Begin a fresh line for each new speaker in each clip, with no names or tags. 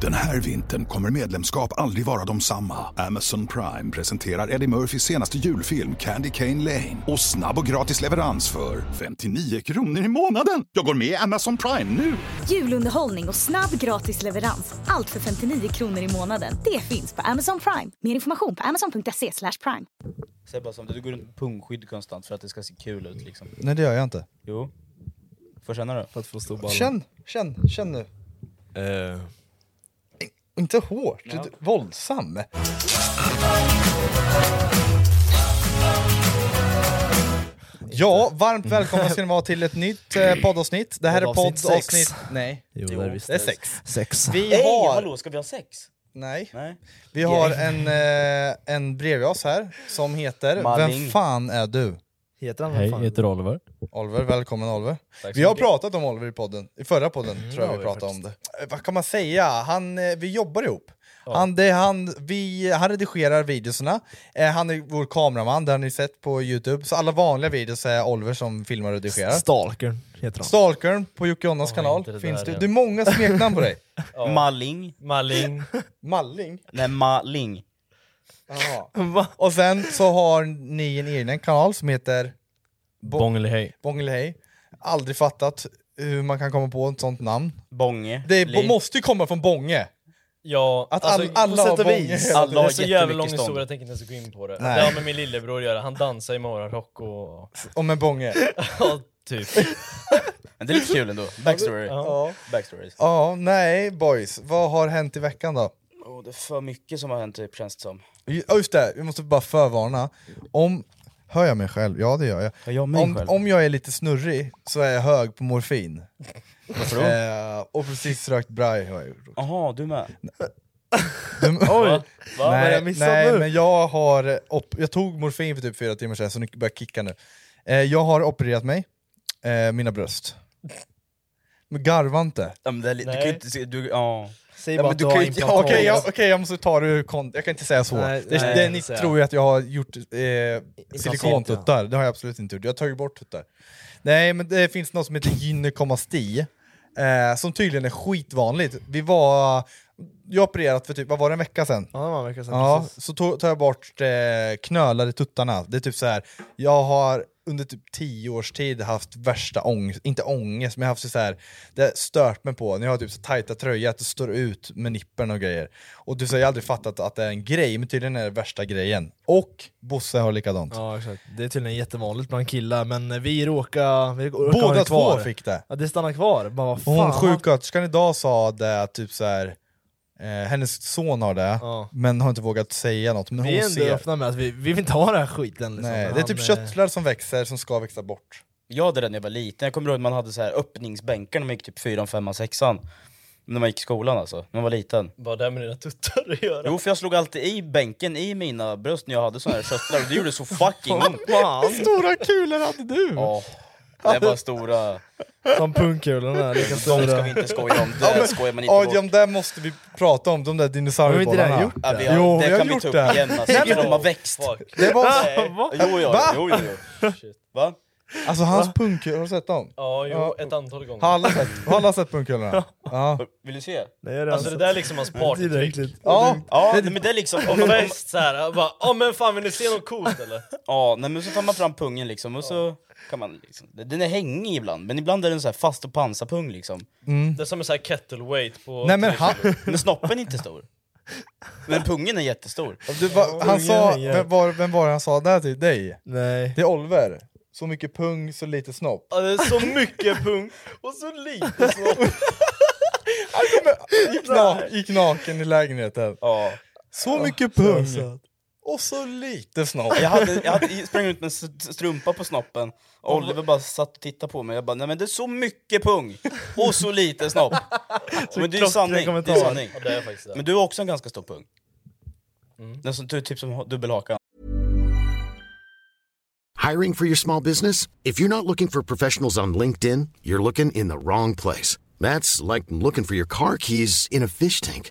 Den här vintern kommer medlemskap aldrig vara de samma. Amazon Prime presenterar Eddie Murphys senaste julfilm Candy Cane Lane. Och snabb och gratis leverans för 59 kronor i månaden. Jag går med i Amazon Prime nu!
Julunderhållning och snabb gratis leverans. Allt för 59 kronor i månaden. Det finns på Amazon Prime. Mer information på amazon.se slash prime.
Sebbe, du går runt med pungskydd konstant för att det ska se kul ut liksom.
Nej det gör jag inte.
Jo. Får känna då.
För att få stor balla.
Känn, känn, känn nu.
Eh,
Inte hårt, du- våldsam. Ja, varmt välkomna ska ni vara till ett nytt eh, poddavsnitt. Det här är
Poddavsnitt sex.
poddavsnitt... Nej,
jo, Eh,
Jo,
det är visst.
det är sex.
Sex.
Vi
Hej,
har...
hallå, ska vi ha sex?
Nej.
Nej.
Vi har en, eh, en bredvid oss här som heter
Malling.
Vem fan är du?
Heter han
Hej,
vad
jag
fan?
heter Oliver.
Oliver, välkommen Oliver.
Tack så
Vi har
mycket.
pratat om Oliver i podden, i förra podden tror
det
jag
har
vi
vi
pratade om det. Eh, Vad kan man säga? Han, eh, vi jobbar ihop. Han, det, är han, vi, han redigerar videoserna, eh, han är vår kameraman, det har ni sett på youtube. Så alla vanliga videos är Oliver som filmar och redigerar.
Stalkern heter han.
Stalkern på Jocke Jonas
inte
kanal
det
finns
där
det.
igen.
Det är många smeknamn på dig.
Malling.
Malling.
Malling.
Nej, Malling.
Och sen så har ni en egen kanal som heter
Bongelihej.
Bongelhej. Aldrig fattat hur man kan komma på ett sånt namn.
Bånge.
Det
Li.
är, måste ju komma från Bånge.
Ja,
Att
alltså,
all, alla
sätt
har
och
Bånge.
vis.
hela
Alla
tiden.
det är
har
så jävla lång
jättemycket stånd.
historia, jag tänker inte ens gå in på det.
Nej.
Det har med min lillebror att göra, han dansar i morgonrock och...
Om en Bånge.
Ja, typ.
Men det är lite kul ändå. Backstory.
Ja.
Backstories.
Ja, nej boys. Vad har hänt i veckan då?
Åh, det är för mycket som har hänt typ, känns det som.
Ju- ja, Just det, vi måste bara förvarna. Om... Hör jag mig själv? Ja det gör jag.
Hör jag mig
om,
själv?
om jag är lite snurrig så är jag hög på morfin.
Varför då?
Eh, och precis rökt braj har jag gjort.
Jaha, du med?
Oj!
Va?
har
nej,
jag missat
nej
nu?
men jag har op- jag tog morfin för typ fyra timmar sedan så nu börjar jag kicka nu. Eh, jag har opererat mig, eh, mina bröst. Men garva inte.
Ja, men det är, li- du kan ju
Nej.
inte se... Du, ja.
Säg
Ja,
bara
men
att
du
du
kan
har
ju inte-
implantat.
Okej, jag, okej, jag måste ta det ur kont- jag kan inte säga så.
Nej,
det,
nej,
det,
jag
ni
kan säga.
tror ju att jag har gjort eh,
ja.
silikontuttar, det har jag absolut inte gjort. Jag har tagit bort tuttar. Nej men det finns något som heter gynekomasti, eh, som tydligen är skitvanligt. Vi var, jag opererat för typ, vad var det, en vecka sedan?
Ja, det var en vecka sedan.
Ja,
precis.
så to- tar jag bort eh, knölar i tuttarna. Det är typ så här. jag har under typ tio års tid haft värsta ångest, inte ångest, men jag har haft så här. det har stört mig på, när jag har typ så tajta tröjor, att det står ut med nippen och grejer. Och du säger jag har aldrig fattat att det är en grej, men tydligen är det värsta grejen. Och Bosse har likadant.
Ja, exakt. Det är tydligen jättevanligt bland killar, men vi råkar... Vi råkar ha
Båda
det kvar.
två fick det.
Ja, det stannar kvar. Bara, vad
Och hon
fan.
sjuksköterskan idag sa det att typ så här. Eh, hennes son har det,
Ja.
men har inte vågat säga något. Men
Vi
hon
är ändå
ser.
öppna med att vi, vi vill inte ha den här skiten. Liksom.
Nej, det är
Han,
typ
eh,
köttlar som växer, som ska växa bort.
Jag hade det när jag var liten. Jag kommer ihåg att man hade så här öppningsbänkar när man gick typ fyran, femman, sexan. När man gick i skolan alltså, när man var liten.
Vad har det med dina tuttar att göra?
Jo, för jag slog alltid i bänken i mina bröst när jag hade såna här köttlar och det gjorde så fucking ont.
Fan!
Stora kulor hade du!
Ja. Det var stora...
Som pungkulorna, lika
De ska
stora.
vi inte skoja om, det skojar man inte
Ja,
bort.
de där måste vi prata om, de där
Har vi inte
dinosauriebollarna.
redan gjort
Ja, vi
det?
har,
Jo,
det
vi har
kan vi
gjort
ta upp
det.
igen alltså,
men-
de har växt.
Fuck.
Det var,
Jo, jo, jo,
Va?
jo, jo, jo. Va?
alltså hans pungkulor, har du sett dem?
Ja, jo,
Ja.
ett antal gånger.
Har alla sett, har alla sett pungkulorna? Ja.
Vill du se?
Nej, det är
Alltså det där är liksom hans partytrick.
ja.
Ja, nej, men det är liksom... Om man, om,
Bäst såhär, jag bara "Ja, men fan vill ni se något coolt eller?”
ja, nej, men så tar man fram pungen liksom och så kan man liksom... Den är hängig ibland, men ibland är den så här fast och pansarpung liksom.
Det är som en sån här kettleweight på...
Mm. Nej men han,
Men snoppen är inte stor. Men pungen är jättestor.
du, va, han sa, vem var, vem var det han sa det här till? Dig?
Nej.
Det är Oliver. Så mycket pung, så lite snopp.
Ja, det är så mycket pung och så lite så.
Gick, na, gick naken i lägenheten.
Ja.
Så mycket pung,
Alltså.
och så lite snopp.
Jag, hade, jag, hade, jag sprang runt med en st- strumpa på snoppen och Oliver bara satt och tittade på mig jag bara nej men det är så mycket pung och så lite snopp. men det är ju sanning. Det är
kommentar.
sanning.
Ja, det är faktiskt det.
Men du har också en ganska stor pung. Den som, du är typ som ha- dubbelhaka.
Hiring for your small business? If you're not looking for professionals on LinkedIn, you're looking in the wrong place. That's like looking for your car keys in a fish tank.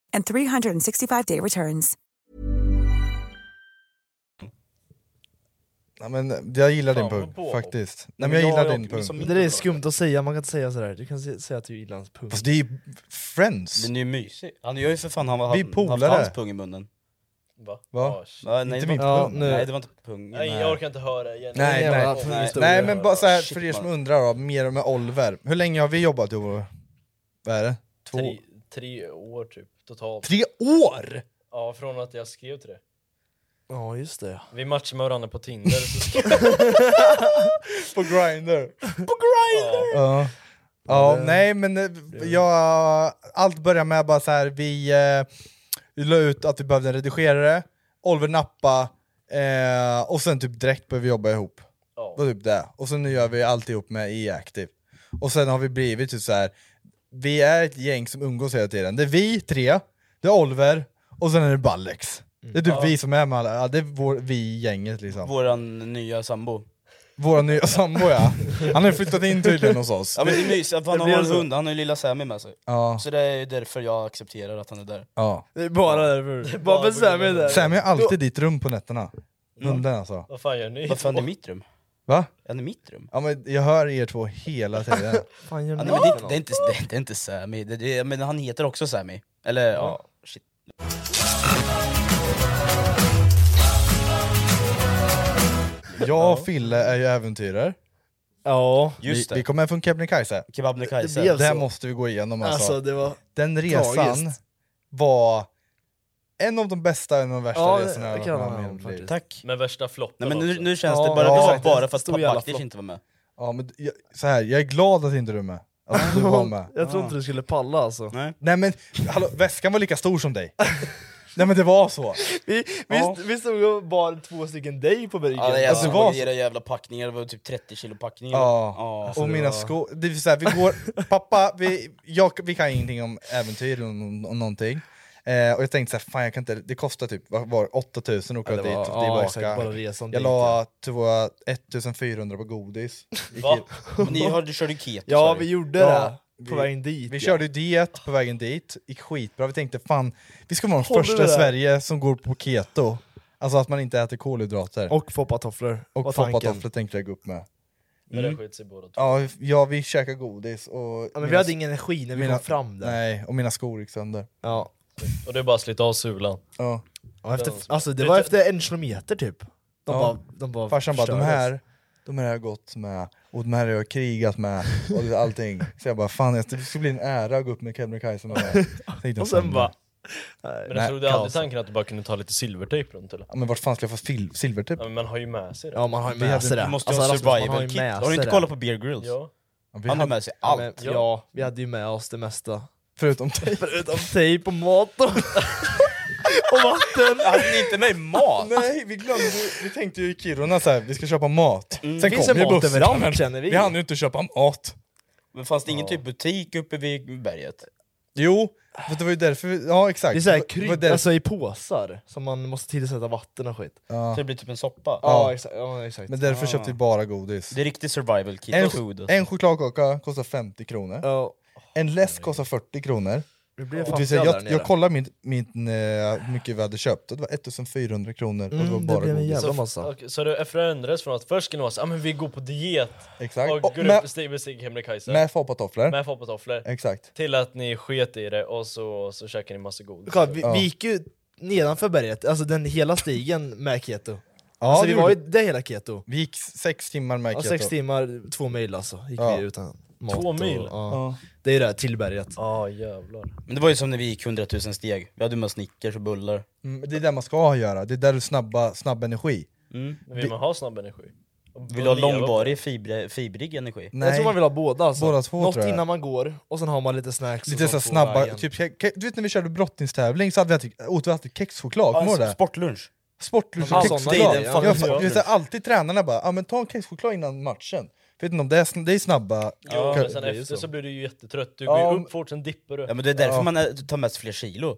and 365-day returns.
Ja, men jag gillar din
Fan, vad
punkt
påhopp.
faktiskt. Nej,
men
men jag
jag-
gillar
jag-
din
men
punkt.
som-
Det där är skumt att säga, man kan inte säga sådär. Du kan se- säga att du gillar hans pung.
Fast det är ju Friends.
Den är ju mysig. Han gör ju för fan, han har
Vi
haft
polare.
hans pung i munnen.
Va?
Va?
Ah, shit.
Ja, nej,
Inte
det var
min
Ja,
pung.
nu.
Nej det var inte pungen.
Nej jag orkar inte höra igen.
Nej,
Jävla
nej.
full
Nej.
historia.
Nej men bara så här,
Shit,
för er som
man.
undrar då, mer med Oliver. Hur länge har vi jobbat ihop? Vad är det? Två?
Tre, tre år typ totalt.
Tre år!
Ja, från att jag skrev till det.
Ja just det.
Vi matchade med varandra på Tinder. Så skrev...
På Grindr.
ja.
Ja. Ja, nej men eh, jag, allt börjar med bara så här, vi, eh, vi la ut att vi behövde en redigerare, Oliver nappa eh, och sen typ direkt började vi jobba ihop.
Ja.
Det var typ det. Och så nu gör vi alltihop med E-Active. Och sen har vi blivit typ så här. vi är ett gäng som umgås hela tiden. Det är vi tre, det är Oliver och sen är det Ballex. Det är typ vi som är med alla, ja, det är vår, vi i gänget liksom.
Våran nya sambo.
Våra nya sambo ja. Han har flyttat in tydligen hos oss.
Ja men det är mysigt, för han
blir
har en
så.
hund, han har ju lilla Sammy med sig.
Ja,
Så det är ju därför jag accepterar att han är där.
ja.
Det är bara därför. Bara för Sammy är där.
Sammy har alltid ditt rum på nätterna. Hunden alltså.
Vad fan gör ni?
Varför är han i mitt rum?
Va?
Är han i mitt rum?
Ja men jag hör er två hela tiden.
Fan gör
Ja,
ni?
nej, men det, är inte- det, är inte, det, är- det är inte Sammy, det, det, men han heter också Sammy. Eller ja, shit.
Jag och Fille är ju äventyrare.
Ja.
Vi,
Just
vi
det,
kom hem från Kebnekaise.
Kebnekaise.
Det blev
Det här
så.
måste vi gå igenom alltså.
Alltså det var...
Den resan
Tragiskt.
var en av de bästa och en av de värsta
Ja, det-
resorna jag
det kan
har varit
jag hålla
med om.
med om
i livet.
Tack.
Med värsta floppen
Nej men nu,
också.
nu känns det
Ja,
bara,
ja.
det var bara för
Stor
att
jävla
Baktis
flopp.
inte var med.
Ja, men jag, så här, jag är glad att inte du är med. Att du var med.
Jag tror inte du skulle palla alltså.
Nej men hallå, väskan var lika stor som dig. Nej men det var så.
Vi, vi,
Ja.
vi stod och bar två stycken dig på bryggan.
Ja, nej, alltså,
det var
det era jävla packningar, det var typ 30 kilo packningar.
Ja.
Alltså,
och
det
mina
var-
skor, det är så här, vi går, pappa, vi, jag, vi kan ingenting om äventyr och, nå- och någonting. Eh, och jag tänkte så här, fan jag kan inte, det kostar typ vad var, det, 8000 att åka
Ja, det
dit
var-
och
ja, exakt, bara
tillbaka.
resan
jag
dit,
la tyvärr 1400 på godis.
Va?
Men ni har, du körde keto sa
ja
du.
vi gjorde
Ja,
det.
vi-
På vägen dit.
Vi
ja.
körde ju diet på vägen dit, gick skitbra. Vi tänkte fan, vi ska vara de
Håller
första i
det där?
Sverige som går på keto. Alltså att man inte äter kolhydrater.
Och foppatofflor. var
och
tanken.
foppatofflor tänkte jag gå upp med.
Men det skit sig båda två.
Ja, ja vi käkade godis och...
Ja, men vi hade ingen energi när vi kom fram där.
Nej, och mina skor gick sönder.
Ja.
Och det är bara att slita av sulan.
Ja.
Ja, efter, alltså det var efter en kilometer typ. De
Ja.
bara, de bara
Farsan bara, de
förstördes.
här, de här har jag gått med, och de här har jag krigat med, och det- allting. Så jag bara, fan jag- det skulle bli en ära att gå upp med Kebnekaise med det här. Tänkte jag,
Och sen
fan,
bara...
Men
Nej,
jag trodde aldrig
kaos.
tanken att du bara kunde ta lite silvertejp runt eller?
Ja, men vart fan ska jag få sil- typ? silvertejp?
Ja, men man har ju med sig det.
Ja man har ju
hade-
med sig det.
Du måste
Alltså,
ha
Rasmus, man
survival
ju
kit.
med
Har du
sig
inte
det.
kollat på Bear Grylls?
Ja.
Ja, vi
Han har
hade-
med sig
Ja,
allt.
men, ja, vi hade ju med oss det mesta.
Förutom tejp.
Förutom tejp och mat och, och vatten.
Hade ni inte med
Mm.
mat?
Nej, vi glömde Vi tänkte ju i Kiruna så här, vi ska köpa mat. Sen
Mm, Finns det
ju
mat
bussen,
överallt,
men
känner vi?
Vi hann ju inte köpa mat.
Men fanns det ingen typ butik uppe vid berget?
Jo, för det var ju därför vi, Ja, exakt.
Det är såhär
Det var
krydd,
därför-
alltså i påsar som man måste tillsätta vatten och skit. Ja,
Så det blir typ en soppa?
exakt. Ja, exakt.
Men därför köpte vi bara godis.
Det är riktigt survival kit.
En,
food.
en chokladkaka kostar 50 kronor.
Ja.
En läsk kostar 40 kronor.
Det blir
Och det vill
fattiga
säga,
där
jag,
nere.
jag kollade min, min, eh, hur mycket vi hade köpt, och det var 1400 kronor och det var
Mm,
bara
det blev en
godis.
jävla massa.
Okej, så det förändrades från att först skulle det vara så, ah, men vi går på diet
Exakt.
och
Och
går
med-
upp steg med Stig Kebnekaise med,
Med fopatofflor.
med foppatofflor
Exakt.
till att ni sket i det och så, så käkade ni massa godis.
Kolla, vi,
Ja.
vi gick ju nedanför berget, alltså den hela stigen med keto.
Ja,
alltså,
det
vi
gjorde
var ju det hela keto.
Vi gick sex timmar med
Ja,
keto.
sex timmar, två mil alltså, gick
Ja.
vi utan mat.
Två mil?
Och, ja.
Ja.
Det är ju det, här, till berget.
Ah, jävlar.
Men det var ju som när vi gick 100 000 steg, vi hade ju med snickers och bullar.
Mm, Det är det man ska göra, det är där du snabba, snabb energi.
Men vill man ha snabb energi? Och
Vill du ha
leva på
långvarig fibre, fibrig energi?
Mm.
Jag tror man vill ha båda alltså.
Båda två,
Något
tror jag.
innan man går, och sen har man lite snacks. och
Lite så
sånt
här
på
snabba,
vägen.
typ, ke- du vet när vi körde brottningstävling så hade vi alltid, åt vi alltid kexchoklad, kommer du ihåg
Ja,
det?
sportlunch.
Sportlunch
Ja,
och
såna
kexchoklad.
grejer,
Jag
ja.
fa- Jag ser alltid tränarna bara, ah, men ta en kexchoklad innan matchen. Vet inte om det är, sn- det är snabba...
Ja,
Kan-
men sen
det är ju
efter så.
så.
blir du ju jättetrött, du
Ja,
går ju
men-
upp fort, sen dippar du.
Ja
Ja,
men det är därför man är, tar mest fler kilo.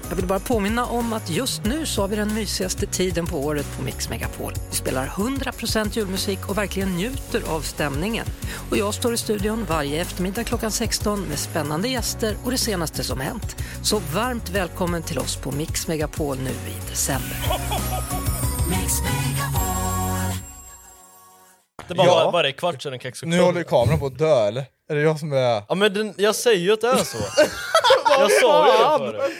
Jag vill bara påminna om att just nu så har vi den mysigaste tiden på året på Mix Megapol. Vi spelar 100% julmusik och verkligen njuter av stämningen. Och jag står i studion varje eftermiddag klockan 16 med spännande gäster och det senaste som hänt. Så varmt välkommen till oss på Mix Megapol nu i december.
det bara
Ja.
var, varje kvart sedan en kexchoklad.
Nu håller kameran på att dö eller? Är det jag som är...
Ja men den, jag säger ju att det är så. jag sa ju det förut.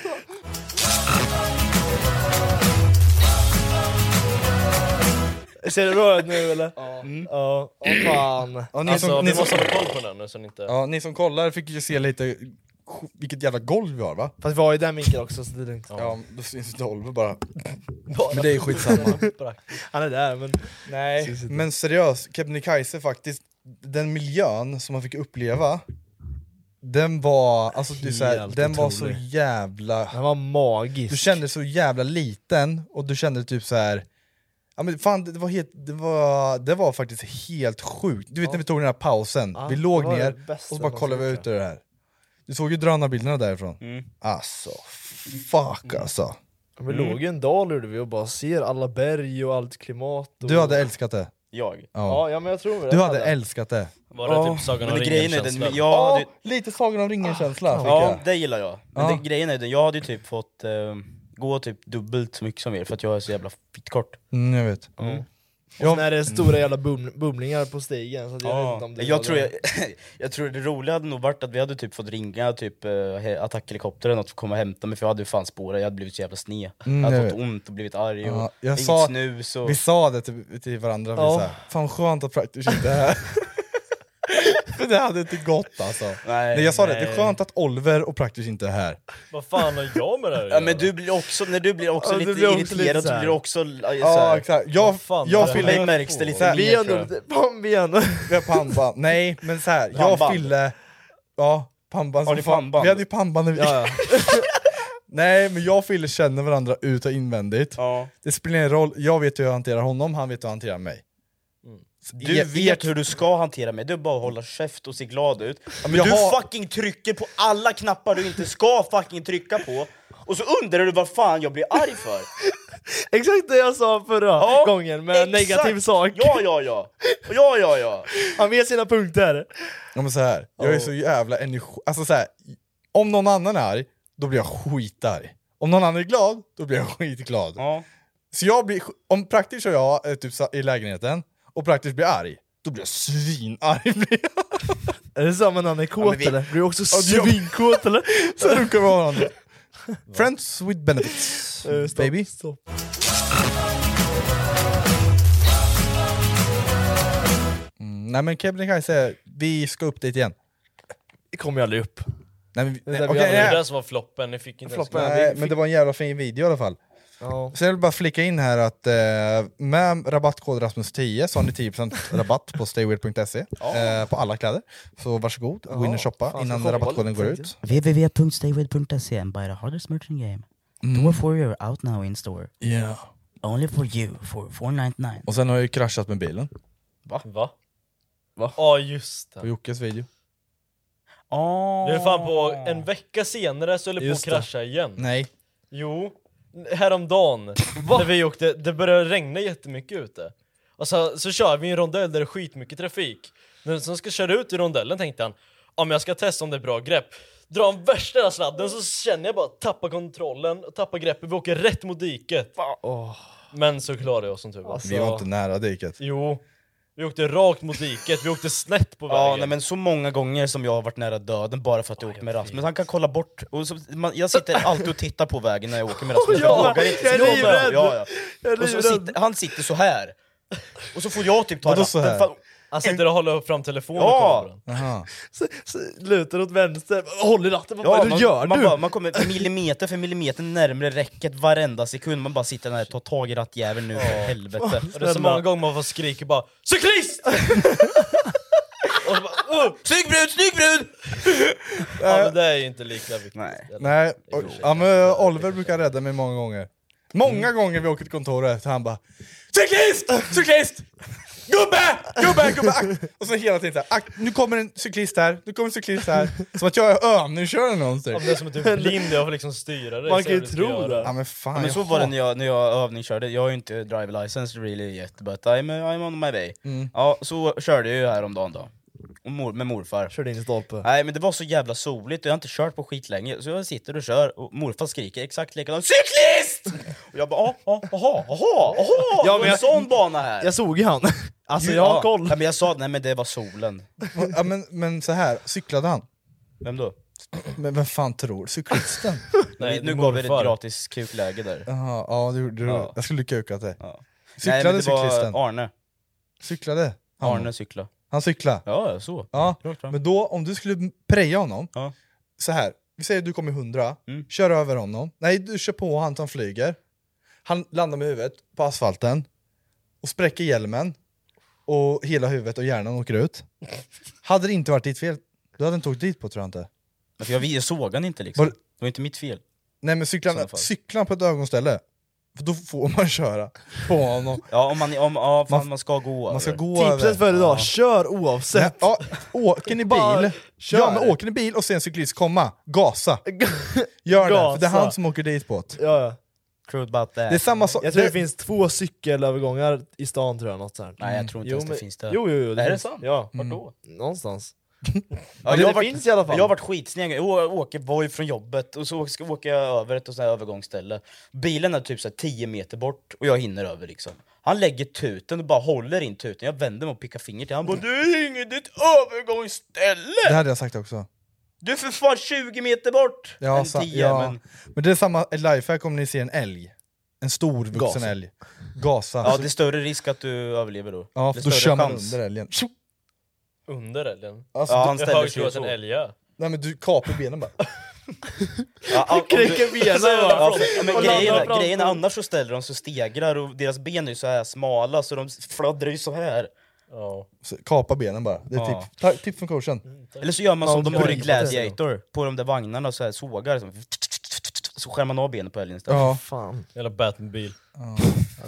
Ser du röd nu eller? Ja. Ja, åh, fan.
Ja, ni,
Alltså
som, ni,
vi
som,
måste hålla koll på den här nu så den inte...
ja, ni som kollar fick ju se lite vilket jävla golv vi har va?
Fast vi har ju den vinkeln också så det är lugnt.
Ja, då syns Dolby bara. Men det är skitsamma.
Han är där men... Nej.
Men seriöst, Kebnekaise faktiskt, den miljön som man fick uppleva den var, alltså, det är så här,
Helt
den var så
otrolig.
jävla...
Den var magisk.
Du kände dig så jävla liten och du kände typ så här. Ja, men fan, det, var helt, det, var, det var faktiskt helt sjukt. Du vet när vi tog den här pausen,
Ja,
vi låg
det var
ner
det bästa
och så bara
man
kollade vi
skulle
ut ur det här. Du såg ju drönarbilderna därifrån.
Mm.
Alltså, fuck alltså.
Vi låg i en dal gjorde vi och bara ser alla berg och allt klimat. Och...
Du hade älskat det.
Jag.
Ja.
Ja, ja men jag tror det.
Du hade älskat det.
Var det typ Sagan
Men
om
det grejen är
ringen-känslan?
den, jag hade,
Ja, lite Sagan om
Ah.
ringen-känsla fick
Ja,
jag.
det gillar jag. Men
Ja.
det, grejen är den, jag hade ju typ fått eh, gå typ dubbelt så mycket som er för att jag är så jävla fitt kort.
Mm, jag vet.
Och sen är det stora jävla bum bumlingar på stigen så att jag vet inte om du
jag,
hade-
tror jag, jag tror det roliga hade nog varit att vi hade typ fått ringa typ eh, he- attackhelikopter eller något för att komma och hämta mig för jag hade ju fan spårat, jag hade blivit så jävla sned. jag
jag
hade fått ont och blivit arg och
Mm, Ja, jag
inget
sa-
snus och...
Vi sa det till, till varandra, vi
Ja.
sa fan skönt att Praktisch inte är här. För det hade inte gått alltså. Nej, jag sa det,
Eh,
det är skönt att Oliver och Praktisch inte är här.
Vad fan har jag med det här att
Ja,
göra?
men du blir också, när du blir också
Ja, du
lite
blir också
irriterad,
lite
du
så här.
blir också eh,
Ja
såhär...
exakt, jag,
fan,
jag
det
fyllde
här märks det lite
så här-
mer.
Vi är
tror
ändå lite... Fan, vi är ändå...
Vi har pannband, nej men så här, jag
Pannband.
fyllde... Ja, pannband
Har
som
ni
fan.
pannband?
Vi hade ju pannband när vi...
Ja,
Nej men jag och Fille känner varandra ut och invändigt.
Ja.
Det spelar ingen roll, jag vet hur jag hanterar honom, han vet hur han hanterar mig.
Du
Jag-
vet hur du ska hantera mig, du bara att hålla käft och se glad ut. Men
jag
du
har-
fucking trycker på alla knappar du inte ska fucking trycka på, och så undrar du vad fan jag blir arg för.
Exakt det jag sa förra
Ja,
gången med
exakt.
negativ sak.
Ja, ja, ja. Ja, ja, ja.
Han vet sina punkter.
Ja, men så här, jag är så jävla energi... Alltså så här, om någon annan är arg, då blir jag skitarg. Om någon annan är glad, då blir jag skitglad.
ja.
Så jag blir, sk- om Praktisch och jag är typ sa- i lägenheten, och Praktisch blir arg, då blir jag svinarg. blir jag.
Är det samma när han är kåt
vi-
eller? Blir du också
Ja, det-
svinkåt eller?
så runkar vi av varandra. Friends with benefits,
Eh, stopp,
baby.
Stopp.
Mm, nej men Kebnekaise, vi ska upp dit igen.
Det kommer jag aldrig upp.
Nej, men,
där
nej,
vi
okej,
aldrig-
Det är
nej.
det som var floppen, ni fick inte ens...
Floppen.
nej, men det var en jävla fin video i alla fall.
Ja.
Sen vill jag bara flika in här att eh, med rabattkod Rasmus10 så har ni 10% rabatt på stayweird.se eh, på alla kläder. Så varsågod, gå in och shoppa
fan,
innan
ska shoppa
rabattkoden
lite,
går
tänkte
ut. Mm.
www.staywild.se and buy the hardest merchant game. Door 4 you're out now in store.
Yeah.
Only for you for 499.
Och sen har jag ju kraschat med bilen.
Va? Va? Va? Ja just
På
det.
Jockes video.
Nu är det fan på en vecka senare så höll det på att
Just det.
krascha igen.
Nej.
Jo, häromdagen när vi åkte, det började regna jättemycket ute. Och så, så kör vi i en rondell där det är skitmycket trafik. När jag ska köra ut i rondellen tänkte han, ja men jag ska testa om det är bra grepp. Dra den värsta jävla sladden så känner jag bara tappa kontrollen, tappa greppet, vi åker rätt mot diket. Men så klarade jag oss som tur var.
Alltså. Vi var inte nära diket.
Jo, vi åkte rakt mot diket, vi åkte snett på vägen.
Ja, nej, men så många gånger som jag har varit nära döden bara för att jag åkt med Rasmus. Han kan kolla bort. Och så, man, jag sitter alltid och tittar på vägen när jag åker med Rasmus.
Ja,
vågar inte
jag är
snubba.
livrädd.
Ja, ja.
Jag är
Och så
livrädd.
sitter, han sitter så här. Och så får jag typ ta
Vadå så här?
för-
Han sitter och håller fram telefonen
Ja.
och
kameran.
Så, så lutar åt vänster, håller ratten,
Ja, man, man, Bara, man kommer millimeter för millimeter närmare räcket varenda sekund. Man bara sitter där och tar tag i rattjäveln nu för helvete.
Och det är så många gånger man får skrika bara Cyklist! och så bara, oh, snygg brud, snygg brud! ja men det är ju inte lika viktigt. Nej.
Nej, och, ja, men Oliver brukar rädda mig många gånger. Många
Mm.
gånger vi åker till kontoret, han bara Cyklist! Cyklist! Gubbe! Gubbe! Gubbe! Akt! Och så hela tiden såhär, akt, nu kommer en cyklist här, nu kommer en cyklist här. Som att jag är övningskörare någonstans.
Ja, men det är som att du är blind, jag får liksom styra dig.
Man
så
kan ju
jag vet inte
tro
göra.
det.
Ja men fan,
men
jag
så var det
hatar-
när jag, när jag övningskörde, jag har ju inte drive license really yet but I'm, I'm on my way.
Mm.
Ja, så körde jag ju häromdagen då. Och mor, med morfar.
Körde in i stolpe.
Nej men det var så jävla soligt och jag har inte kört på skit länge så jag sitter och kör och morfar skriker exakt likadant CYKLIST! Och jag bara "Ah, ah, aha, aha, aha!
Ja,
Ja,
men
men
jag-
en sån bana här!
Jag såg ju han. Alltså
Ja.
jag har koll.
Ja, men jag sa nej men det var solen.
Ja, men, men så här cyklade han.
Vem då?
Men vem fan tror? Cyklisten?
Nej,
det är
nu gav vi dig
morfar.
ett gratis kukläge där.
Jaha, ja det gjorde du.
Ja.
Jag skulle kukat dig.
Ja. Nej, men
Cyklade
det
cyklisten?
var Arne.
Cyklade? Han,
Arne cykla.
han cyklade?
Ja, jag såg.
Ja.
Rakt fram.
Men då, om du skulle preja honom,
Ja.
så här. vi säger att du kommer 100,
Mm.
kör över honom, nej du kör på han så han flyger, han landar med huvudet på asfalten, och spräcker hjälmen, och hela huvudet och hjärnan åker ut. Hade det inte varit ditt fel, du hade inte åkt dit på tror jag inte.
Men för jag, jag såg han inte liksom.
Var-
Det var inte mitt fel.
Nej men
I sådana
cyklarna,
fall.
cyklarna på ett ögonställe, för då får man köra på honom.
Ja, om man, om, ja, fan, man, ska gå
Man ska
över.
gå över.
Tipset för idag, kör oavsett.
Ja, åker ni
Bara
bil,
kör.
ja, men åker ni bil och ser en cyklist komma, gasa! Gör det, för det är
Gasa.
han som åker dit på ett.
Ja, ja.
True about that.
Det är samma sak...
Jag tror det,
det-
finns två cykelövergångar i stan tror jag, något sånt.
Nej, jag tror inte ens det
men-
finns det.
Jo, jo, jo.
Är det
finns.
sant?
Ja,
Vart då?
någonstans.
Ja,
det
jag, har
finns i alla fall.
jag har varit skitsned. Jag å- åker boy från jobbet och så ska, åker jag över ett sånt här övergångsställe. Bilen är typ så här 10 meter bort och jag hinner över liksom. Han lägger tuten och bara håller in tuten. Jag vänder mig och pickar fingret till honom. Han bara Du är inget det är ett
Det
övergångsställe!
hade jag sagt också.
Du är för fan 20 meter bort!
Ja,
Än
sa,
10,
ja.
men...
Men... det är samma lifehack om ni ser en älg. En stor vuxen
Gasa.
älg. Gasa.
Ja, det är större risk att du överlever då.
Ja,
det
för då
är
kör
större
man
chans.
under älgen. Tjo!
Under älgen.
Alltså,
Ja,
du,
han
Jag
ställer
har
sig
ju
ju
att en
så.
älg ja.
nej, men du kapar benen bara.
Ja, om du-
Knäcker benen
Alltså, Ja,
Alltså, bara.
för- men
Och landar
grejen,
framför.
grejen är annars så ställer de sig och stegrar och deras ben är ju så här smala så de fladdrar ju så här.
ja.
Så, kapa benen bara. Det är
Ja.
tips. Ta, tips från coachen.
Eller så gör man som
Ja,
de har i
gripa till sig
Gladiator, på de där vagnarna så här sågar så, så skär man av benet på älgen istället.
Ja.
Fan.
Jävla Batmobil.
Ja,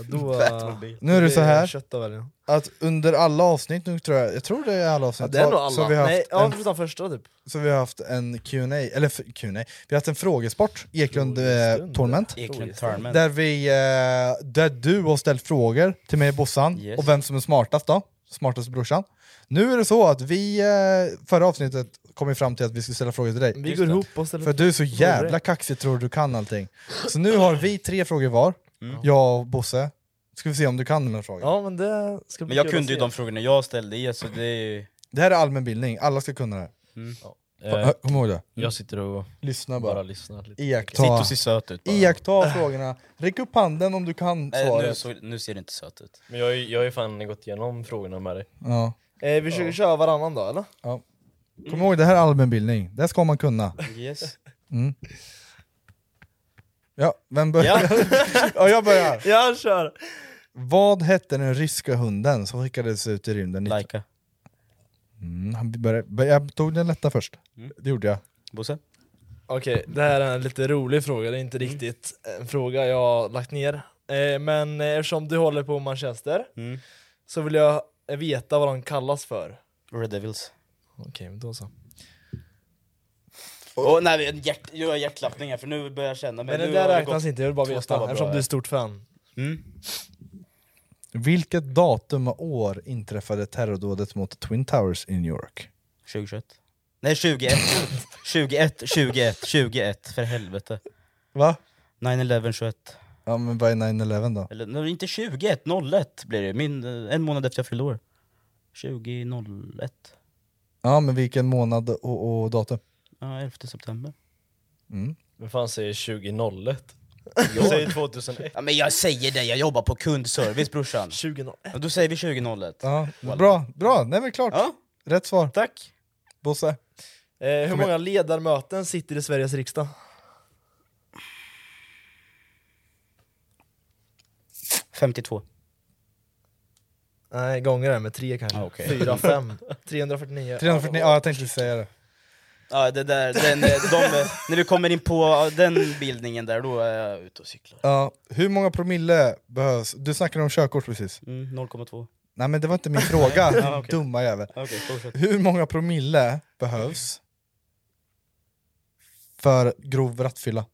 då,
Batmobil.
Nu är det så här
Kött av älgen.
att under alla avsnitt, nu tror jag, jag tror det är alla avsnitt,
Ja, det är nog
så-
alla.
Så, vi har haft
Nej, ja,
en,
förutom första typ.
så vi har haft en Q&A eller f- Q&A vi har haft en frågesport, Eklund eh,
Frågestund.
Torment.
Eklund Tournament.
Där, vi, eh, där du har ställt frågor till mig och Bossan,
Yes.
och vem som är smartast då, smartaste brorsan. Nu är det så att vi, eh, förra avsnittet kom vi fram till att vi skulle ställa frågor till dig.
Vi går ihop och ställer
För du är så jävla kaxig tror du kan allting. Så nu har vi tre frågor var, jag och Bosse. Ska vi se om du kan de här frågorna.
Mm. Ja men det ska bli
Men jag
kul att
kunde ju
se.
de frågorna jag ställde i så det är ju...
Det här är allmänbildning, alla ska kunna det här.
Mm.
Eh,
Kom ihåg det.
jag sitter och
Lyssna bara.
bara lyssnar lite.
Sitt
Iaktta.
och se söt ut bara.
Iaktta frågorna. Räck upp handen om du kan
Eh,
Nej, nu,
svaret.
så, nu ser det inte söt ut.
Men jag har ju jag har ju fan gått igenom frågorna med dig.
Ja.
Eh, vi försöker köra varannan dag eller?
Kom ihåg, det här är allmänbildning. Det ska man kunna.
Yes.
Ja, vem börjar? Ja. jag börjar.
Jag kör!
Vad hette den ryska hunden som skickades ut i rymden?
Laika.
Mm, han började, bör- jag tog den lätta först.
Mm.
Det gjorde jag.
Bosse? Mm.
Okej, det här är en lite rolig fråga, det är inte riktigt en fråga jag har lagt ner. Eh, Eh, men eh, eftersom du håller på Manchester
Mm.
så vill jag eh, veta vad de kallas för.
Red Devils.
Okej, men då så.
Åh nej, en hjärt, jag har hjärtklappningar för nu börjar jag känna mig...
Men det
nu
där
har det
räknas
gått Mm.
inte, jag vill bara
två
veta
snabba bra
eftersom du
här.
är stort fan.
Vilket datum och år inträffade terrordådet mot Twin Towers i New York?
2021. Nej 21. 21, 21, 21 för helvete.
Va?
9-11, 21.
Ja men vad är 9-11 då?
Eller nej, inte 21, 01 blir det. Min, eh, en månad efter jag fyllde år. 2001.
Ja men vilken månad och, och datum?
Ja, 11 september.
Mm.
Vem fan säger 2001? Jag säger 2001.
Ja, men jag säger det, jag jobbar på kundservice brorsan.
2001.
Ja, då säger vi 2001.
Ja, bra, bra, nej men klart. Rätt svar.
Tack.
Bosse?
Eh, hur många ledarmöten sitter i Sveriges riksdag?
Femtio 52.
Nej, gånger det med tre kanske.
Ah, okej.
Fyra, fem. 349.
349, ja jag tänkte säga det.
Ja, det där, den, eh, de, eh, när vi kommer in på eh, den bildningen där, då är jag ute och cyklar.
Ja, hur många promille behövs? Du snackade om körkort precis.
Mm, 0,2.
Nej men det var inte min fråga, din
Ja, okej.
dumma jävel.
Okej, fortsätt.
Hur många promille behövs för grov rattfylla?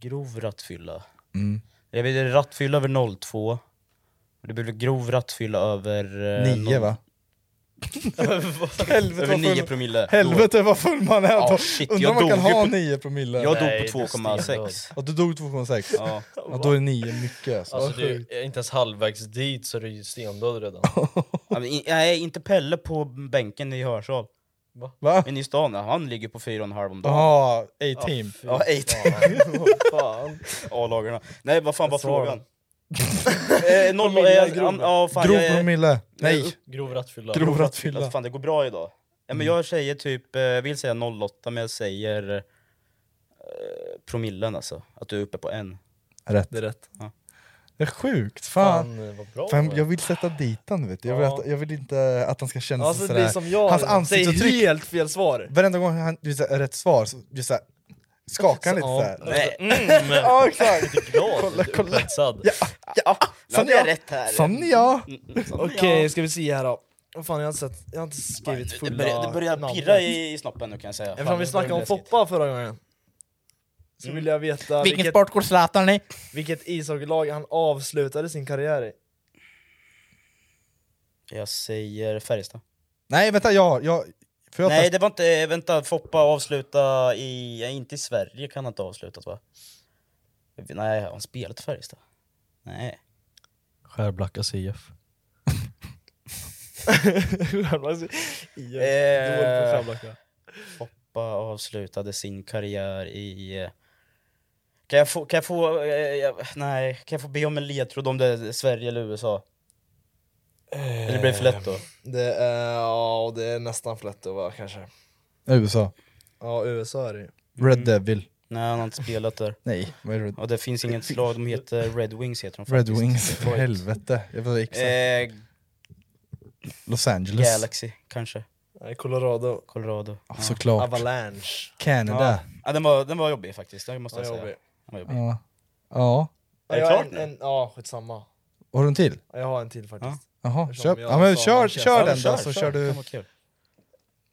Grov rattfylla.
Mm.
Jag vet, det är rattfylla över 02. Det blir väl grov rattfylla över... eh,
Nio
noll-
va?
Helvete, över
vad full-
9 promille.
Helvete vad full man är!
Ja,
då.
shit,
Undrar
jag
om man kan
dog ju
ha
på-
9 promille?
Jag dog på 2,6.
Ja, du dog 2,6?
Ja.
ja, då är 9 mycket alltså.
Alltså det är inte ens halvvägs dit så är du ju stendöd redan.
Ja, men i- Nej, inte Pelle på bänken i Hörsal.
Va?
Va?
Men i stan, ja, han ligger på 4,5 om dagen.
Jaha, A-team.
Ja, 8. A-lagarna. Nej, vad fan var frågan? eh, noll,
Promille,
eh,
grov.
an- ja, fan,
grov
jag är-
promille? Nej!
Grov rattfylla.
Grov
Alltså,
rattfylla.
fan, det går bra idag. Ja, men jag säger typ, eh, vill säga 08, men jag säger eh, promillen alltså. Att du är uppe på en.
Rätt.
Det är rätt.
Det är sjukt, fan.
Fan eh, vad bra.
Fan, jag vill sätta dit han vet du. jag vill,
Ja.
att, jag vill inte att han ska känna
Alltså
sig
det är
sådär
som jag,
Hans
säger
ansiktsuttryck,
helt fel svar.
varenda gång han du säger rätt svar, så, du såhär, skakar han lite såhär
Nej,
Mm. Ja exakt!
Glad.
Kolla, kolla.
Upphetsad.
ja, nu
Sån
hade jag
jag!
rätt Mm, här.
Sån jag!
Okej, ska vi se här då. Vad fan, jag har inte, sett, jag har inte skrivit
Det
fulla
börjar, det börjar
namn.
pirra i, i snoppen nu kan jag säga. Fan,
Eftersom vi
det
snackade om
börjar bli läskigt. Mm.
Foppa förra gången så vill jag veta
Vilken
vilket,
sport går Zlatan i?
vilket ishockeylag han avslutade sin karriär i.
Jag säger Färjestad.
Nej vänta, jag, jag, får jag
Nej,
testa?
det var inte... Vänta, Foppa avsluta i... ja, Inte i Sverige kan han inte ha avslutat va? Nej, har han spelat i Färjestad? Nej.
Skärblacka CF.
Eh, Foppa avslutade sin karriär i... eh, Kan jag få... Kan jag få eh, jag- nej, kan jag få be om en ledtråd om det är Sverige eller USA? Eller blir det för lätt då?
Det är, ja, det är nästan för lätt att vara kanske.
USA,
Ja, USA är det ju.
Red
Mm.
Devil
Nej, han har inte spelat där.
Nej, vad är Red,
Och det finns inget slag, de heter Red Wings heter de
Red
faktiskt.
Wings, för
Detroit.
helvete Jag var exakt,
Eh,
Los Angeles
Galaxy kanske,
Nej, Colorado.
Colorado.
Ja, Såklart,
Avalanche.
Canada
Ja, den, var, den var jobbig faktiskt, det måste
Ja,
jag säga.
jobbig.
Den var jobbig.
Ja, ja.
Ja,
Är det
jag har
klart
en,
nu?
en, ja, skitsamma.
har du en till?
Ja, Jag har en till faktiskt.
Jaha,
Eftersom
köp,
jag
ja men
sa
kör,
Manchester.
kör
Ja,
den
kör,
då så kör du
Fan, vad kul.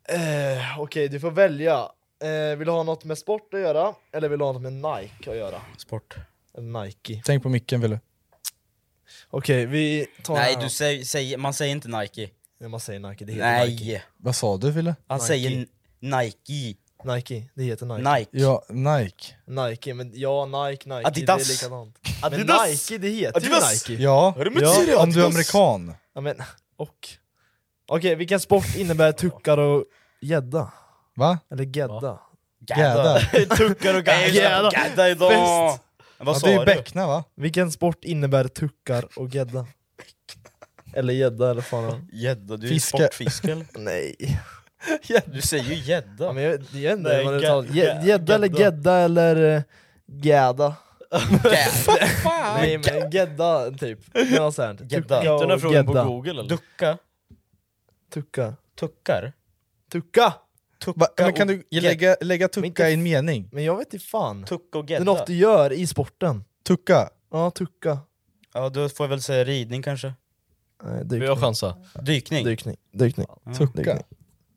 Eh, Okej, du får välja. Eh, vill du ha något med sport att göra? Eller vill du ha något med Nike att göra?
Sport.
Nike.
Tänk på micken vill du?
Okej, vi tar
Nej,
den
du
här.
säger, säger, man säger inte Nike.
Ja, Man säger Nike, det heter Nike.
Nej,
Vad sa du Ville?
han
Nike.
säger n- Nike.
Nike, det heter Nike.
Nike.
Ja, Nike
Nike, men ja, Nike, Nike,
Adidas.
det är likadant.
Adidas.
Men Nike, det heter
Adidas.
ju Nike.
Ja,
du mött
ja.
Sirius?
om du är amerikan.
Ja, men, och. Okej, vilken sport innebär tuckar och gädda?
Va?
Eller gädda?
Gädda.
Tuckar och gadda.
Gädda.
Gadda idag.
Bäst.
Men
Ja,
Vad
det är
sa
ju
du?
Bäckna va?
Vilken sport innebär tuckar och gädda? Eller gädda eller fan
Gädda, du är
Fiske.
sportfisk eller?
Nej.
Du säger ju
Ja,
gädda.
men jag vet jag vet inte
Nej,
vad det
gä-
uttalas. Gä-
gä-
Gädda eller
gädda.
gädda eller eh, gäda?
Gädda.
Nej men gädda typ. Det var så här.
Gädda.
Tucka
Den här
och
frågan på
gädda.
google eller?
Ducka.
Tucka.
Tuckar.
Tucka!
va? Men
och
kan du
gädda.
lägga, lägga
inte-
tucka i en mening?
Men jag vet inte fan.
Tucka och
Det är
gädda.
något du gör i sporten.
Tucka?
Ja, tucka.
Ja, då får jag väl säga ridning kanske.
Vi har chansa.
Dykning.
Dykning. Dykning.
Ja.
Dykning.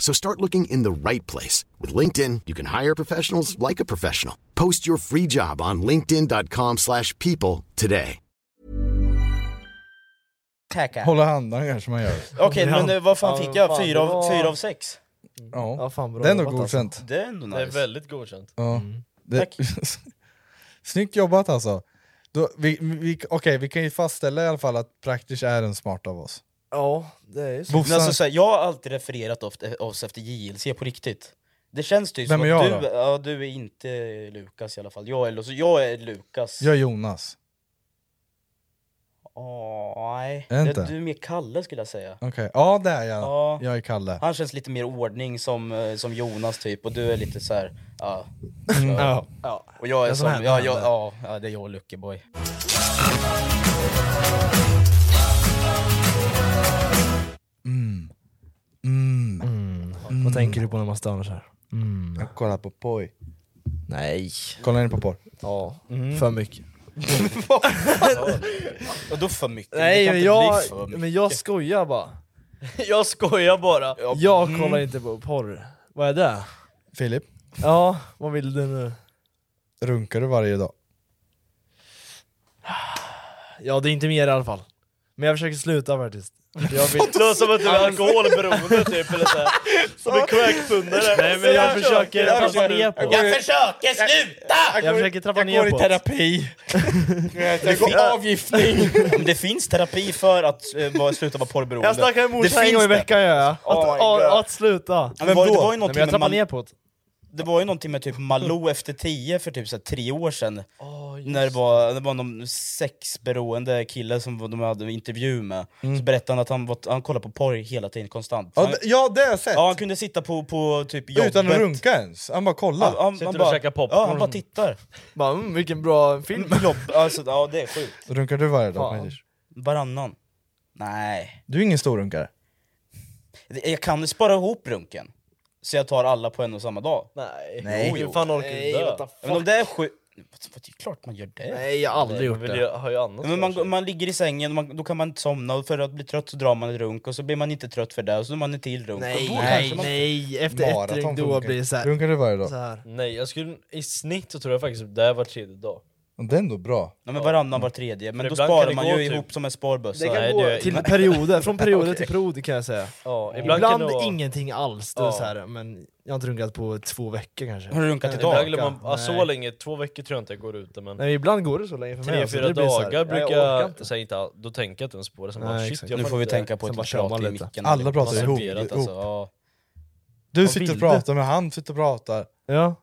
So start looking in the right place. With LinkedIn, you can hire professionals like a professional. Post your free job on linkedin.com/people slash people today.
Kaka.
Hålla handen kanske man gör.
Okej, men eh, vad fan
Ja,
fick jag?
fan,
fyra,
det
av,
var-
fyra av sex?
Ja.
Ja, fan, bra
det är ändå
jobbat,
godkänt.
alltså.
Det är ändå
Det är
nice.
väldigt godkänt.
Ja. Det...
Tack.
Snyggt jobbat alltså. Då, vi, vi, Okej, vi kan ju fastställa i alla fall att Praktisch är en smart av oss.
Ja, det är ju så.
Men
Bofsan,
alltså, så här, jag har alltid refererat ofta- oss efter JLC på riktigt. Det känns typ
Vem
som
är
att
jag
du, ja, du är inte Lukas i alla fall. Jag är, Lu- jag är Lukas.
jag är Jonas.
Åh, nej.
Är
Det-
inte?
Du är mer Kalle skulle jag säga.
Okej, ja det är jag.
Ja.
Jag är Kalle.
Han känns lite mer ordning som, eh, som Jonas typ, och du är lite så här. ja.
Ja.
ja. Och jag är
Det som
som,
händer,
ja, jag,
händer.
ja, ja, det är jag och Lucky Boy.
Mm.
Vad tänker du på när man stönar så här?
Jag kollar på poj.
Nej.
Kollar ni på porr?
Ja,
Mm.
för mycket.
Och då för mycket? det
Nej
kan
men
inte
jag,
bli för mycket.
men jag skojar bara.
Jag skojar bara.
Jag kollar inte på porr. Vad är det?
Filip,
Ja, vad vill du nu?
runkar du varje dag?
Ja det är inte mer i alla fall. Men jag försöker sluta faktiskt. Jag vill...
Det låter som att du är alkoholberoende typ, eller såhär. Som en crackpundare.
Nej men jag försöker trappa ner på
Jag försöker sluta!
Jag försöker trappa ner på det.
terapi!
Det finns avgiftning! det finns terapi för att eh, vara- sluta vara porrberoende.
Jag snackar emot
Det
en
finns
gång i
det.
veckan gör jag. Att,
Oh my
att,
God.
att sluta.
Men var- det var ju
Nej,
någonting
men jag
med
trappar
man-
ner på det.
Det var ju någonting med typ Malou efter tio för typ så här tre år sedan. när det var, det var någon sexberoende kille som de hade en intervju med.
Mm.
Så berättade han att han, var- han kollade på porr hela tiden, konstant.
Ja,
Han,
det- ja det har jag sett!
ja, han kunde sitta på, på typ jobbet.
Utan att runka ens, han bara kollar.
Han, han,
Sitter
han,
och
bara,
käkar popcorn.
ja, han bara tittar.
Bara, mm, vilken bra film.
Jobb, alltså, ja, det är sjukt.
Runkar du varje dag?
Fan.
Medish?
Varannan. Nej.
Du är ingen storrunkare.
Jag kan spara ihop runken. Så jag tar alla på en och samma dag.
Nej.
Nej.
Hur fan orkar du
Nej,
dö?
what the fuck?
Men om det är sju... Det är klart man gör det.
Nej jag har aldrig gjort
Man vill ju,
det.
har ju annat
Men
för sig.
man, man ligger i sängen, man, då kan man inte somna, och för att bli trött så drar man en runk, och så blir man inte trött för det, och så drar man en till runk.
Nej,
Och då
nej,
kanske man-
nej. Efter ett
Maraton
ring då
funkar. Mm.
blir det såhär.
Runkar du varje dag?
Så här.
Nej, jag skulle, i snitt så tror jag faktiskt att det är var tredje dag.
Det är ändå bra.
Ja, men varannan, var tredje. Men
För
då
ibland kan
sparar
det
man
gå
ju
typ-
ihop som en sparbössa.
Det kan
Nej,
gå
är-
Till perioder, från perioder till perioder kan jag säga.
Ja, ibland,
Ibland,
kan det vara,
ingenting alls, det är
Ja.
så här, men jag har inte runkat på två veckor kanske.
Har du runkat
ibland
idag?
glömmer-
glömmer man, ja, så
Nej.
länge, två veckor tror jag inte jag går ute men
Nej, men ibland går det så länge för mig.
tre,
alltså.
fyra
Det blir så här,
dagar
ja,
brukar
orkar
jag,
inte.
säga inte, all- då tänker jag inte ens på det. Sen bara,
Nej,
shit,
exakt.
jag
Nu
fan
får vi
inte-
tänka på
Sen
att
bara
vi
kör man
pratar i
lite.
micken.
Alla
Det är
pratar ihop,
serverat,
ihop.
Alltså, ja.
Du
Vad
sitter och
vill
pratar med han sitter och pratar.
Ja,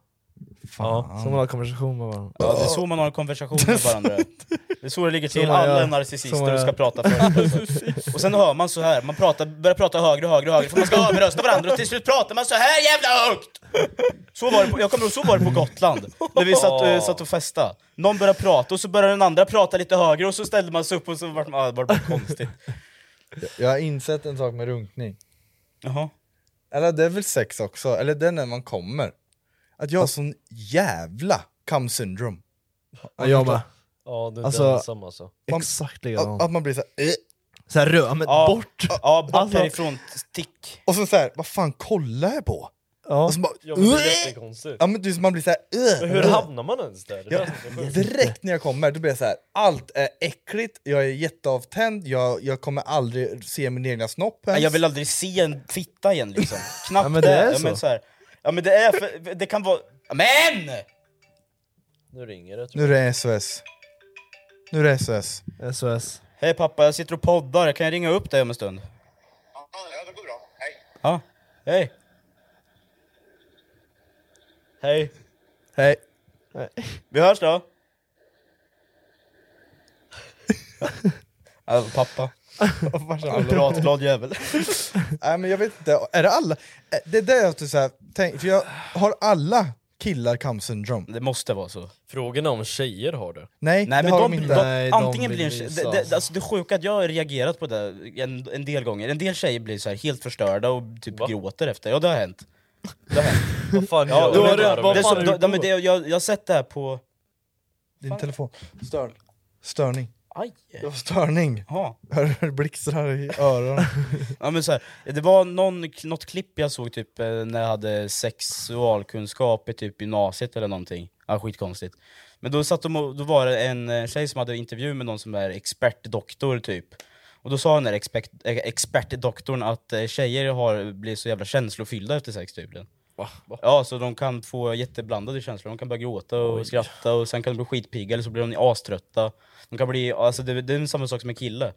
Fan.
så man har konversation med varandra.
ja, det är så man har en konversation med varandra. Det är så det ligger till.
man
Alla
gör.
är
Så
narcissister
man
och ska
gör.
prata först. Och sen hör man så här. man pratar, börjar prata högre och högre och högre för man ska överrösta varandra och till slut pratar man så här jävla högt! Så var det på, jag kommer ihåg, så var det på Gotland, när vi satt, eh, satt och festade. Någon började prata och så började den andra prata lite högre och så ställde man sig upp och så vart man, ah, det var bara konstigt.
Jag har insett en sak med runkning.
Jaha.
Eller det är väl sex också, eller det är när man kommer. Att jag har sån jävla cum syndrome.
Ja, jag med.
Ja, du är
Alltså-
inte ensam alltså.
Man-
Exakt
Att,
likadant.
att man blir så här, eh.
Såhär röd, men
Ja.
bort!
Ja, bort
Alltså-
härifrån, stick.
och sen så här, vad fan kollar jag på? Och så bara, "Äh."
Ja, men det är jättekonstigt.
Ja, men du, man blir så här, "Äh."
Men hur
"Ugh."
hamnar man ens där? Det
Ja,
är det som är sjukt.
direkt när jag kommer, då blir jag så här, allt är äckligt, jag är jätteavtänd, jag, jag kommer aldrig se min egna snopp ens.
Nej, jag vill aldrig se en fitta igen liksom. Knappt
Ja,
men det. Är ja, men, så här. ja men det är, för, det kan vara... Men!
Nu ringer det.
Nu är det SOS. Nu är det SOS.
SOS.
Hej pappa, jag sitter och poddar, kan jag ringa upp dig om en stund? Ja, det går bra. Hej. Ja, hej.
Hej.
Hej. Vi hörs då. Ja, pappa. Pratglad jävel.
Nej men jag vet inte, är det alla? Det är det jag alltid så här, tänk, för jag har alla killar cum syndrome?
Det måste vara så.
Frågan är om tjejer har det.
Nej,
Nej,
det
men
har
de,
de
de,
inte. Nej, de
antingen
vill
blir en
visa,
tjej, det, det,
alltså.
alltså det är sjukt att jag har reagerat på det en, en del gånger. En del tjejer blir så här helt förstörda och typ gråter efter. Ja, det har hänt. Det har hänt.
Vad fan
Ja,
gör du?
men-
Vad
det är
fan
som-
är du
de- de-
på?
det- jag, jag har sett det här på...
Din telefon. Störn. Störning.
Aj!
Det var störning.
Ja.
Hör du blixtrar i öronen?
Ja, men så här, det var någon, något klipp jag såg typ eh, när jag hade sexualkunskap i typ gymnasiet eller någonting. Ja, skitkonstigt. Men då, satt de och, då var det en eh, tjej som hade intervju med någon som är expertdoktor typ. Och då sa den där expert, eh, expertdoktorn att eh, tjejer har, blir så jävla känslofyllda efter sex tydligen. Ja, så de kan få jätteblandade känslor. De kan börja gråta och skratta och sen kan de bli skitpigga eller så blir de aströtta. De kan bli, alltså det, det är samma sak som en kille.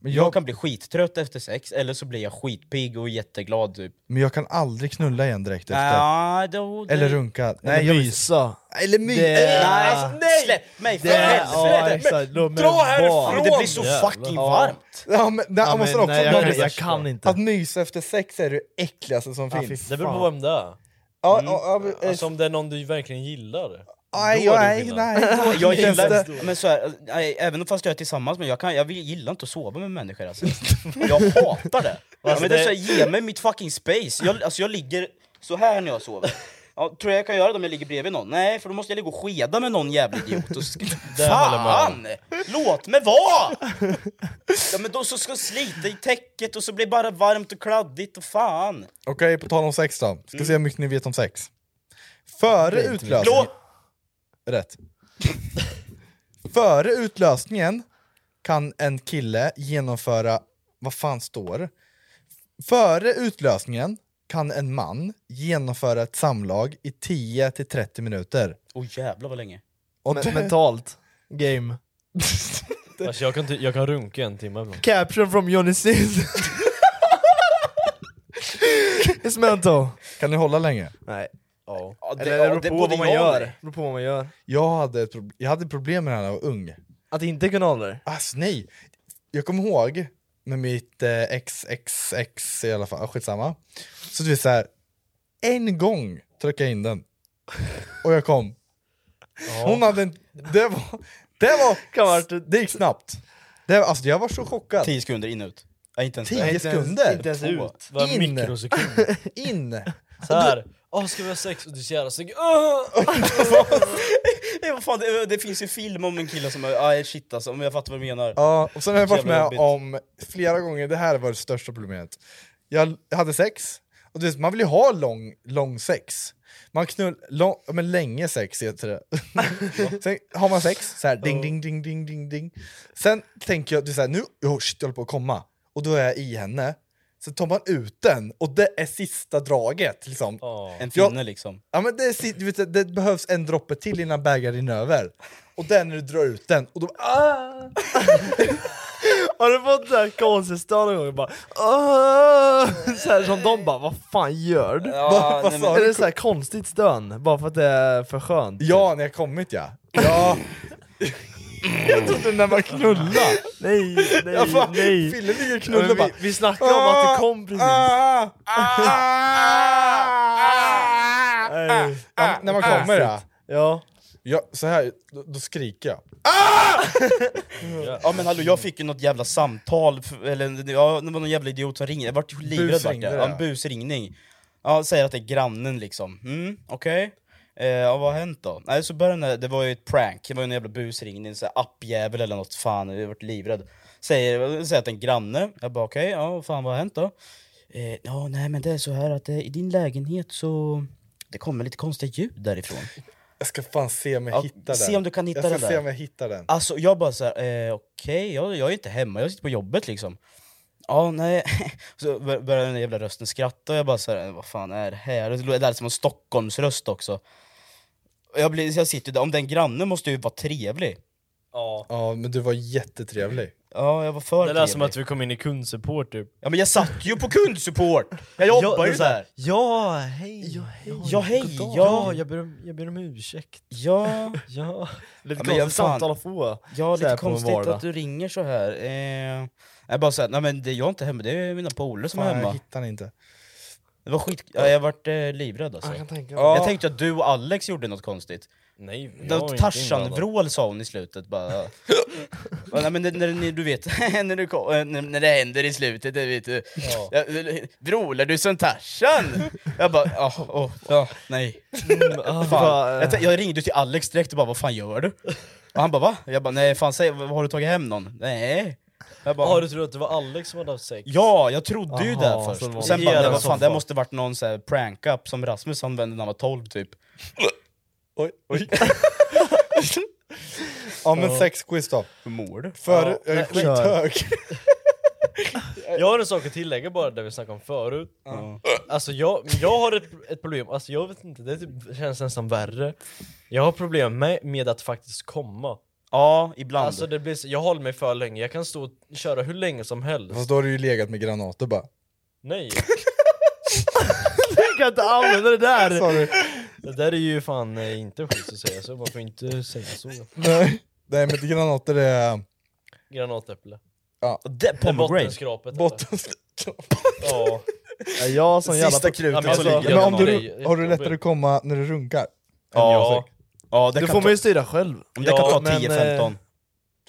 Men
jag...
jag-
kan bli skittrött efter sex eller så blir jag skitpigg och jätteglad typ.
Men jag kan aldrig knulla igen direkt efter.
Ja, då, det...
Eller runka.
Eller
jag vill-
mysa.
Eller my...
Det-
Nej, alltså, nej! Släpp mig för
Det- ja,
helvete!
exakt. Låt mig
Dra
vara.
härifrån! Det blir så
Jävlar.
fucking
Ja.
varmt!
Ja, men, nej,
Ja,
man
men
måste också
nej, jag
vara
kan-
det
jag
värsta.
kan inte.
Att mysa efter sex är det äckligaste som
Ja, fy
finns.
Det beror
fan.
på vem det är.
Ja, ja, ja, eh,
Alltså om det är någon du verkligen gillar.
aj,
då är det
aj,
skillnad.
nej.
Jag
Inte ens det.
gillar, men så här, alltså, nej, även fast jag är tillsammans med jag, kan, jag vill- gillar inte att sova med människor alltså. Jag hatar det! Ja, men det är så här, ge mig mitt fucking space! Jag, alltså, jag ligger så här när jag sover. Ja, tror jag jag kan göra det om jag ligger bredvid någon? Nej, för då måste jag ligga och skeda med någon jävla idiot. Och sk- Fan! Låt mig vara! Ja, men då så ska jag slita i täcket och så blir det bara varmt och kladdigt och fan.
Okej, på tal om sex då. Ska se hur mycket ni vet om sex. Före utlösningen...
Blå!
Rätt. Före utlösningen kan en kille genomföra... Vad fan står det? Före utlösningen kan en man genomföra ett samlag i 10 till 30 minuter.
Åh jävlar vad länge.
Och
Men,
det-
mentalt. Game.
Alltså, jag, kan, inte- jag kan runka i en timme ibland.
Caption from Johnny Sins. It's mental.
Kan ni hålla länge?
Nej.
Ja, det,
Eller det
ja,
beror
det
på
både
vad man
jag och
gör.
dig.
Det beror på vad man gör.
Jag hade, ett prob- jag hade problem med det här när jag var ung.
Att inte kunna hålla det.
Alltså nej! Jag kommer ihåg med mitt eh, XXX i alla fall, ah, skitsamma. Så du vet såhär, en gång tryckte jag in den. Och jag kom. Hon hade en, det var, det var, det gick snabbt. Det, alltså jag var så chockad.
10 sekunder in och ut. Ja, inte ens
Tio
det.
inte ens- inte
sekunder!
ens ut.
Vad
In.
mikrosekund.
In!
Så här. Åh, ska vi ha sex? Och du är så jävla snygg. Ah!
Nej, vad fan, det, det finns ju film om en kille som är... Ah, shit alltså, om jag fattar vad du menar.
Ja, och sen har jag varit
Jävla
med
jobbigt.
om flera gånger, det här var det största problemet. Jag hade sex, och du vet, man vill ju ha lång, lång sex. Man knull, lång, ja, men länge sex heter det. sen har man sex, så här, ding, ding, ding, ding, ding, ding. Sen tänker jag, du så här, nu, oh shit, jag håller på att komma. Och då är jag i henne. Sen tar man ut den, och det är sista draget. Liksom.
En
Ja.
finne liksom.
Ja, men det, är si- du vet, det behövs en droppe till innan bägaren rinner över. Och det är när du drar ut den, och då... Ah!
Har du fått såhär konsistens någon gång? Bara, "Åh!" så här, som de bara, vad fan gör du?
Vad- vad
nej,
sa
Är
du?
det såhär konstigt stön? Bara för att det är för skönt?
Ja, när jag kommit ja. ja. jag trodde när man knullade.
Nej, nej,
Jag bara,
nej!
Fille ligger och
Ja, men
knullar bara.
vi, vi snackade om att
"Ah,
det kom precis.
ah, ah, ah."
Nej.
Äh,
Ja, När man kommer ja.
Ja.
Ja, så här, då, då skriker jag.
Ja men hallå, jag fick ju något jävla samtal, f- eller ja, det var någon jävla idiot som ringde, jag vart ju livrädd vart
Busringde,
jag. Ja,
ja.
en busringning. Ja, säger att det är grannen liksom. Mm, okej. Eh, ja, vad har hänt då? Nej, så började den här, det var ju ett prank, det var ju en jävla busringning, en sån här appjävel eller något, fan jag vart livrädd. Säger, säger att det är en granne, jag bara okej, ja, vad fan vad har hänt då? eh, ja, nej men det är så här att eh, i din lägenhet så det kommer lite konstiga ljud därifrån.
Jag ska fan se om jag
Ja,
hittar den.
se om du kan hitta
jag
den
ska
där.
se om jag hittar den.
Alltså jag bara såhär, eh, okej, jag, jag är inte hemma, jag sitter på jobbet liksom. Ja, nej. Så bör- började den jävla rösten skratta och jag bara såhär, vad fan är det här? Det låter som en Stockholmsröst också. Och Jag, blir, så jag sitter där, om den grannen måste ju vara trevlig.
Ja.
ja, men du var jättetrevlig.
Ja, jag var för
Det lät som
trevlig.
att vi kom in i kundsupport typ.
Ja men jag satt ju på kundsupport! Jag jobbar ju där!
Ja, hej! Ja, hej!
Ja, hej,
goddag.
ja.
jag, ber om, jag ber om ursäkt.
Ja,
Ja.
Lite
Ja, men jag-
konstigt
fan.
samtal att få.
ja
Så här
lite
på en
konstigt
vardag.
att du ringer så här. Eh, jag bara såhär, nej men det, jag är inte hemma, det är mina polare som är
Fan, jag
hemma.
hittar den inte.
Det var skit, ja, jag vart eh, livrädd alltså.
Jag kan tänka mig.
Jag tänkte att du och Alex gjorde något konstigt.
Nej, jag var
Något
inte inblandad.
Tarzan-vrål sa hon i slutet bara. ja, nej, men det, när, när, du vet, när, du kom, eh, när, när det händer i slutet, det vet du. Ja. Vrålar du som Tarzan? jag bara, ja, åh, ja, mm, ah, nej. Fan. Jag, tänkte- jag ringde till Alex direkt och bara, vad fan gör du? Och han bara, va? Jag bara, nej fan säg, har du tagit hem någon? Nej. Jag bara,
Ja, du trodde att det var Alex som hade haft sex?
Ja, jag trodde ju
Aha,
det först.
så det var-
Och sen
Ge
bara,
den
nej, vad
som
fan, det
fan.
måste varit någon så här prank-up som Rasmus använde när han var 12 typ.
Oj, oj. ja men sexquiz då.
Hur mår du?
För, jag är
nej,
skithög.
Jag har en sak att tillägga bara, där vi snackade om förut. Alltså jag, men jag har ett, ett problem, alltså jag vet inte, det typ, känns nästan värre. Jag har problem med, med att faktiskt komma.
Ja, ibland.
Alltså det blir, så- jag håller mig för länge, jag kan stå och köra hur länge som helst.
Fast då har du ju legat med granater bara.
Nej,
Jag kan inte använda det där!
Sorry.
det där är ju fan eh, inte schysst att säga så, man får inte säga så.
Nej. Nej men granater är
Granatäpple.
det,
Det är
pomegranate.
bottenskrapet. eller?
botten.
Ja.
Ja, jag som jävla...
Sista
Ja,
krutet
men
som
alltså-
ligger
Men om
under.
det
du,
är
har du
jobbigt.
lättare att komma när du runkar? Än jag
Ja,
fick.
ja det,
Det
kan
får
ta, eh,
man ju styra själv.
det kan ta
Ja,
men, eh,
10-15.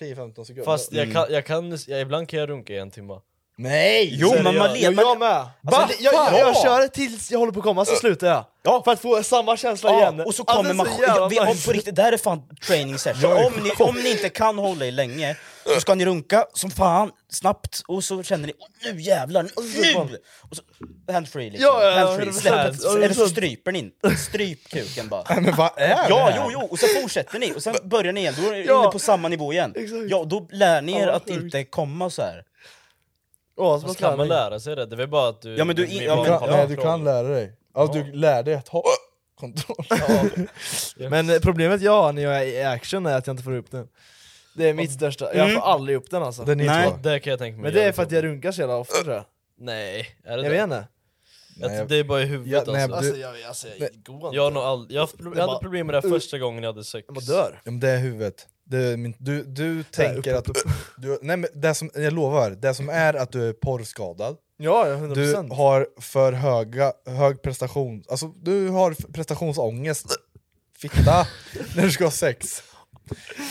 10-15 sekunder.
Fast jag
Mm.
kan, jag kan ja, ibland kan jag runka i en timme.
Nej!
Jo men man,
Jo,
le- man,
jag med! Alltså, det- jag, jag, jag kör tills jag håller på att komma, så slutar jag. För att få samma känsla igen. Alltså,
Ja, och så kommer man... Jag, vet- om,
nice.
på riktigt, det här är fan training session. Om ni, om ni inte kan hålla er länge, så ska ni runka som fan, snabbt, och så känner ni "Åh, nu jävlar, nu! Och så, handfree liksom,
Ja, ja, ja,
handfree,
hundra
släpp,
procent. Ja,
eller så
hundra
stryper ni in, stryp kuken bara.
Men vad är det
Ja,
här?
jo, jo, och så fortsätter ni, och sen börjar ni igen, då är ni
Ja.
inne på samma nivå igen. Ja, då lär ni er
Ja,
att
sjukt.
inte komma så här.
Åh,
Fast
så
kan man lära sig det? Det är väl bara att du...
Ja, men du-
vi- vi
ja,
Du kan,
bara
men-
kollar
nej, du
på
kan
dem.
lära dig. Ja, du lär dig att ha kontroll.
Men eh, problemet jag har när jag är i action är att jag inte får upp den. Det är mitt största, jag får aldrig upp den alltså.
Den är
Nej.
två.
Det kan jag tänka mig.
Men det är
göra
för att
på.
jag runkar så jävla ofta tror jag.
Nej, är
Jag
det det?
vet inte.
Jag
Nej,
tror det är bara i huvudet
Ja, nej,
alltså.
Alltså jag, alltså, jag går
Jag, har
inte.
nog ald- jag, har haft pro- jag hade problem med det här första gången jag hade sex.
Uh. Jag bara dör.
Ja, men det är huvudet. Det är min, du du tänker att... Du, nej, men det som, jag lovar, det som är att du är porrskadad,
Ja, ja, 100%.
du har för höga, hög prestation... Alltså du har f- prestationsångest, fitta, när du ska ha sex.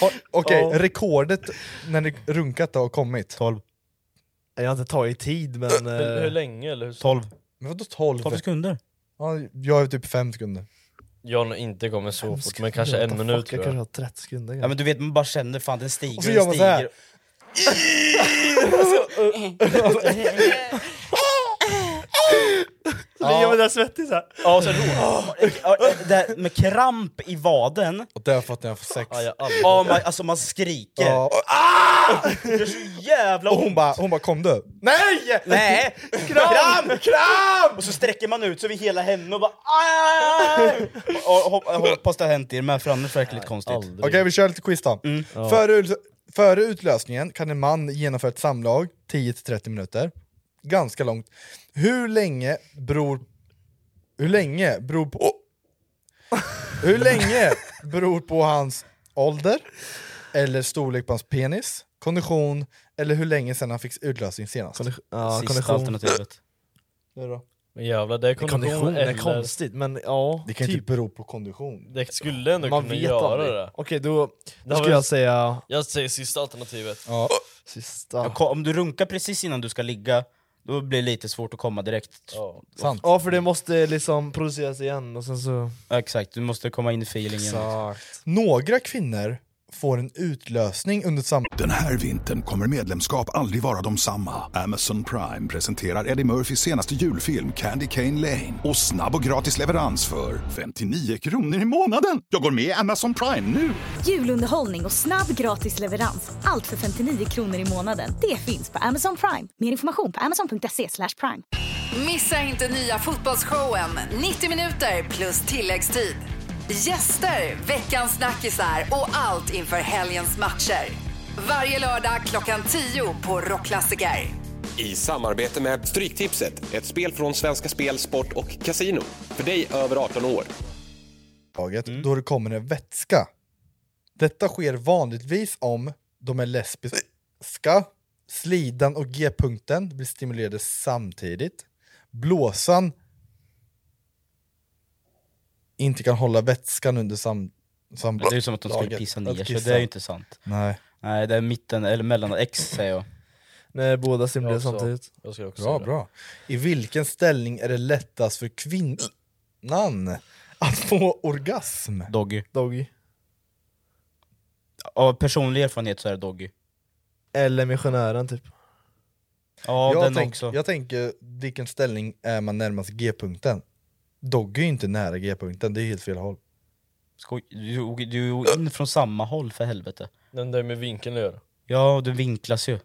Ha- Okej,
Ja.
rekordet när ni runkat har kommit? 12.
Jag har inte tagit tid men...
Hur, hur
eh,
länge eller hur?
12.
Men vadå 12?
12 sekunder.
Ja, jag är typ 5 sekunder.
Jag har nog inte kommit så fort, men kanske
what
en
the
minut
fuck, Jag
tror
kanske
jag.
har 30 sekunder.
Ja men du vet, man bara känner fan den stiger
Och så gör
den
man så här.
stiger.
Ligger med den där svettig såhär.
Ja, och så Ja, det här med kramp i vaden,
Och det har jag fått när jag får sex.
Ja, jag har aldrig...
oh my, alltså man skriker. Ah!
Ja.
Det gör så jävla
Och
ont!
hon bara, hon bara kom du?
Nej!
Nej! Kram! Kram! Och så sträcker man ut sig över hela henne och bara... "Aj!" och, hop- jag hoppas det har hänt er med, för annars verkar det lite konstigt.
aldrig.
Okej vi kör lite quiz då. Före, ut- före utlösningen kan en man genomföra ett samlag 10-30 minuter. Ganska långt. Hur länge beror... Hur länge beror på... Hur länge beror på hans ålder, eller storlek på hans penis, kondition, eller hur länge sedan han fick utlösning senast?
Ja,
Sista
kondition.
alternativet.
Nu då?
Men jävlar, det är kondition
Kondition är
eller...
konstigt men ja.
Det kan inte bero på kondition.
Det skulle ändå
typ Man
kunna
vet
göra
aldrig.
det.
Okej då,
Det
då
har
skulle
väl-
jag säga
Jag säger sista alternativet.
Ja.
sista.
Ja, ko- Om du runkar precis innan du ska ligga, då blir det lite svårt att komma direkt.
Ja.
Sant.
Ja för det måste liksom produceras igen och sen så...
Ja, Exakt, du måste komma in i feelingen.
Några kvinnor får en utlösning under samma...
Den här vintern kommer medlemskap aldrig vara de samma. Amazon Prime presenterar Eddie Murphys senaste julfilm Candy Cane Lane. Och snabb och gratis leverans för 59 kronor i månaden. Jag går med i Amazon Prime nu!
Julunderhållning och snabb gratis leverans. Allt för 59 kronor i månaden. Det finns på Amazon Prime. Mer information på amazon.se slash prime.
Missa inte nya fotbollsshowen 90 minuter plus tilläggstid. Gäster, veckans snackisar och allt inför helgens matcher. Varje lördag klockan 10 på Rockklassiker.
I samarbete med Stryktipset, ett spel från Svenska Spel, Sport och Casino. För dig över 18 år.
Alltså,
laget då det kommer en vätska. Detta sker vanligtvis om de är lesbiska, slidan och g-punkten blir stimulerade samtidigt, blåsan inte kan hålla vätskan under sam
Det är ju som att de skulle pissa ner sig, det är ju inte sant.
Nej.
Nej, det är mitten, eller mellan X säger jag.
Nej, båda
stimuleras Jag också. samtidigt. Jag skulle också
bra,
säga det.
bra. I vilken ställning är det lättast för kvinnan att få orgasm?
Doggy.
Doggy.
Av personlig erfarenhet så är det Doggy.
Eller missionären typ.
Ja,
jag,
den
tänk,
också.
jag tänker, vilken ställning är man närmast G-punkten? Doggy är ju inte nära G-punkten, det är helt fel håll.
Skoj, du, du är ju in från samma håll för helvete.
Den där med vinkeln att göra.
Ja, du vinklas ju.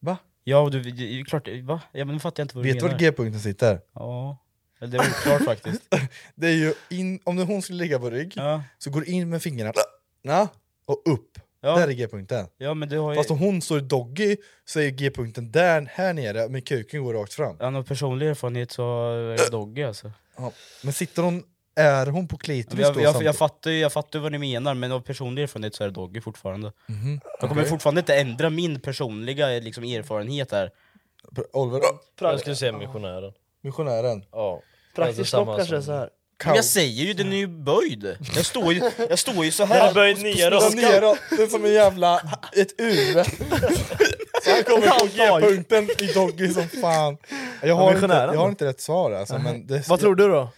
Va?
Ja, och du, det är ju klart, va? Ja men nu fattar jag inte vad
Vet
du
du
menar.
var G-punkten sitter?
Ja, eller det är oklart faktiskt.
Det är ju in, om hon skulle ligga på rygg, så går det in med fingrarna na, och upp. Där är G-punkten.
Ja, men du har ju...
Fast om hon står doggy så är G-punkten där, här nere, men kuken går rakt fram.
Han har personlig erfarenhet så är det Doggy alltså.
Ja. Men sitter hon, är hon på klitoris
Jag,
då?
jag, jag,
samtidigt?
fattar, ju- jag fattar ju vad ni menar, men av personlig erfarenhet så är det Doggy fortfarande.
Mhm.
Jag kommer
Okej.
fortfarande inte ändra min personliga eh, liksom, erfarenhet här.
Oliver?
Jag skulle säga missionären.
Missionären?
Ja.
Praktiskt
Alltså samma
knopp kanske
som-
är så här. Men jag säger ju, den är ju böjd! Jag står ju, jag står ju så här.
Den är böjd
Och-
neråt.
och-
Den neråt, det är som en jävla... ett U. Så här kommer på G-punkten i Doggy som fan. Jag har, inte,
missionären
jag har
då?
inte rätt svar alltså, men det,
Vad tror du då?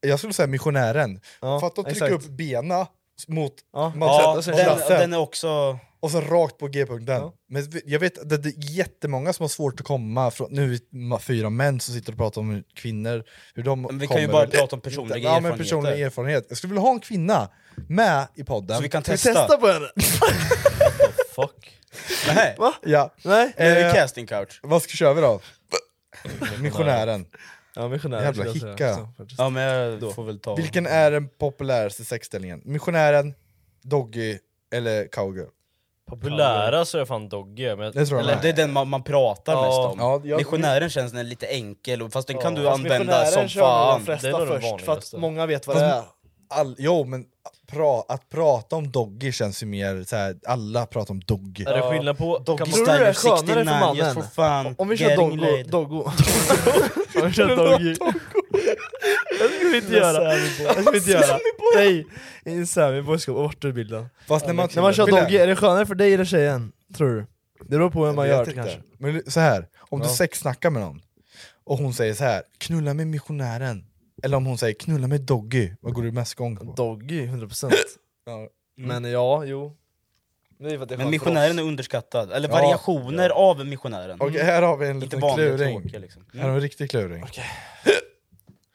Jag skulle säga missionären. Fatta att trycka
exakt.
upp bena mot...
Ja, alltså,
sätter
den-
klassen.
den är också...
Och så rakt på G-punkten. Men jag vet att det är jättemånga som har svårt att komma från... Nu är vi fyra män som sitter och pratar om hur kvinnor, hur de
Men vi kan
kommer.
ju bara prata om personliga
Ja, men personlig
erfarenheter.
erfarenhet. Jag skulle vilja ha en kvinna med i podden.
Så vi kan Ska vi testa? testa
på henne?
Nej.
Va? Ja. Nej.
Eh,
Det är ju casting couch.
Vad ska köra vi då? Missionären.
Ja, missionären
Jävla
skulle jag
hicka.
säga.
Ja men jag får väl ta...
Vilken är den populäraste sexställningen? Missionären, Doggy eller cowgirl?
Populära så är fan Dogge. Men
Det tror jag
Eller, det är den man, man pratar
Ja.
mest om.
Ja, jag-
Missionären känns den är lite enkel, och- fast den kan du
fast
använda
missionären
som
kör nog de
fan.
flesta först, för att många vet vad
Fast
det är.
All, jo, men pra, att prata om Doggy känns ju mer så här, alla pratar om Doggy.
Är det skillnad på... kan man-
Tror du det är skönare för mannen? Om vi kör
Getting
doggo,
laid.
doggo. Om vi kör doggy. Det ska vi inte göra. Det ska vi inte göra. Nej, inte Samiboy ska bort ur bilden.
Fast när man-
när man kör
Bilden.
doggy, är det skönare för dig eller tjejen? Tror du? Det beror på hur man
Jag
gör
vet
det
inte.
kanske.
Men så här, om
Ja.
du sexsnackar med någon och hon säger så här, knulla med missionären. Eller om hon säger knulla med Doggy, vad går du mest gång på?
Doggy, 100%.
ja.
Men ja, jo. Det är för att det är
Men
skönt
missionären
för
är
oss.
underskattad, eller
Ja.
variationer av missionären. Mm.
Okej, här har vi en
Inte
liten
vanlig och
kluring.
tråkig, liksom.
Här har vi en riktig kluring.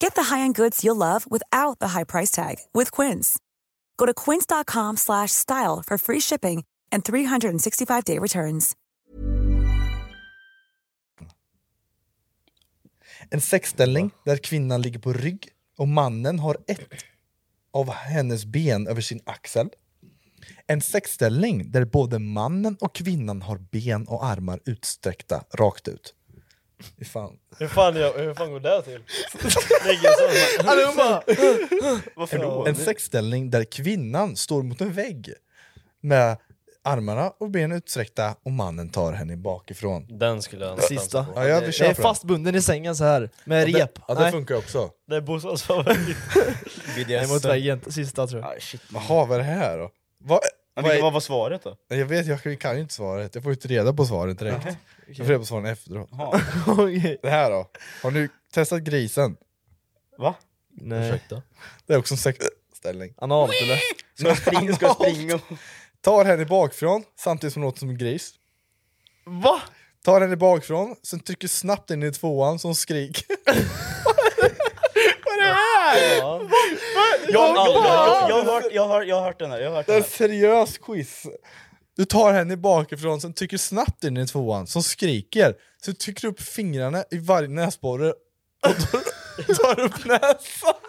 Get the high-end goods you'll love without the high price tag with Quince. Go to quince.com slash style for free shipping and 365-day returns.
En sexställning där kvinnan ligger på rygg och mannen har ett av hennes ben över sin axel. En sexställning där både mannen och kvinnan har ben och armar utsträckta rakt ut. Fy Fan.
Hur fan, jag, hur fan går det här till? Lägger så.
Allihopa!
Varför då?
En sexställning där kvinnan står mot en vägg med armarna och benen utsträckta och mannen tar henne bakifrån.
Den skulle jag nästan
Sista.
på.
Ja, jag vill
Jag
köra
är fastbunden i sängen så här med
Ja, det-
rep.
ja, det
Nej.
funkar också.
Det är Bossas favorit.
Nej, mot väggen. Sista tror jag.
Jaha, vad är det här då? Vad, vad
Men vilket
är-
var, var svaret då?
Jag vet, jag kan ju inte svaret. Jag får ju inte reda på svaret direkt.
Nej,
Jag får reda på svaren efteråt.
Okej.
Det här då? Har ni testat grisen?
Va?
Nej.
Ursäkta.
Det är också en sexställning.
Analt eller?
Ska jag springa? Ska jag springa?
Tar henne bakifrån samtidigt som hon låter som en gris.
Va?
Tar henne bakifrån, sen trycker snabbt in i tvåan som skriker.
Vad är det här?
Jag, jag, jag, jag, har hört, jag, har, jag har hört den här, jag har hört
Det är
den
en
här.
seriös quiz. Du tar henne bakifrån, sen trycker snabbt in i tvåan som skriker. Så trycker du upp fingrarna i varje näsborre och tar, tar upp näsan.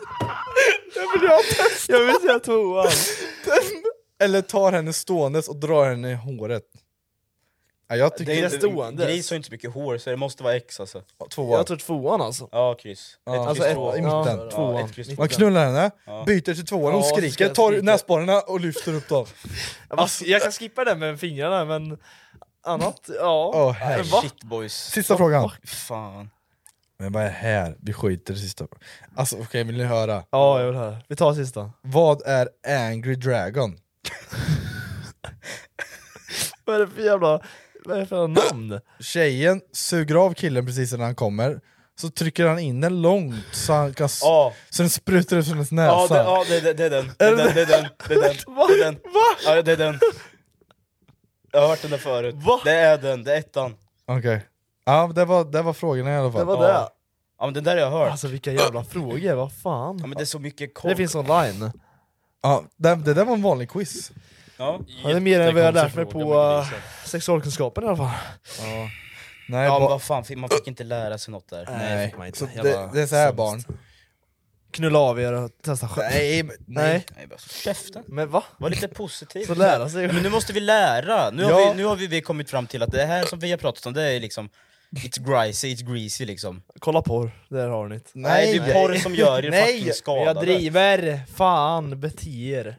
Det vill jag testa.
Jag vill säga tvåan.
Eller tar henne ståendes och drar henne i håret. Ja, jag tycker
Det är inte,
stående.
gris har inte så mycket hår så det måste vara X alltså.
tvåan.
Jag tror tvåan alltså.
Ja, kryss.
Ja,
Ett
alltså
kryss
ett-
två.
i mitten.
Ja,
Tvåan.
ett kryss
Man
två.
knullar henne,
Ja.
byter till tvåan, hon
Ja,
skriker,
ska
tar
skrika.
näsborrarna och lyfter upp dem.
Jag, bara, jag kan skippa den med fingrarna men annat, ja.
Åh,
men
herregud.
va?
Shit boys.
Sista frågan.
Fan.
Men vad är det här? Vi skiter i sista. Alltså okej, vill ni höra?
Ja, jag vill höra. Vi tar sista.
Vad är Angry Dragon?
Vad är det för jävla... Vad är det för namn?
Tjejen suger av killen precis innan han kommer, så trycker han in den långt så, han kan, s-
Ja,
så den sprutar ut från hennes
ja, det,
näsa.
ja det, det, det är den. Det är den, det är den, det är den. Det är den. Ja, det är den. Jag har hört den där förut. Det är den, det är ettan.
Okej. Ja, det var, det var frågorna i alla
Det
fall.
var det.
Ja men den där har jag hört.
Alltså vilka jävla frågor, vad
Ja
fan.
men det är så mycket koll.
Det finns online.
Ja, det, det där var en vanlig quiz.
Ja.
Ja, det är mer än vad jag har lärt mig
Jättekonstig
på
fråga,
eh, sexualkunskapen i alla fall.
Ja. Nej,
Ja men
ba-
vad fan, fick- man fick inte lära sig något där.
Nej,
nej.
fick man inte.
Så
Jag
det,
var
det är så här
sämst.
barn.
Knulla av er och testa själv.
Nej, men-
Nej.
Nej bara käften.
Men va?
Var lite positiv.
Så lära sig.
Men nu måste vi lära! Nu har,
Ja.
vi, nu har vi, vi kommit fram till att det här som vi har pratat om, det är liksom It's greasy, it's greasy liksom.
Kolla porr, där har ni det.
Nej, det är porr som gör er fucking skadade.
Jag driver! Fan, bete er.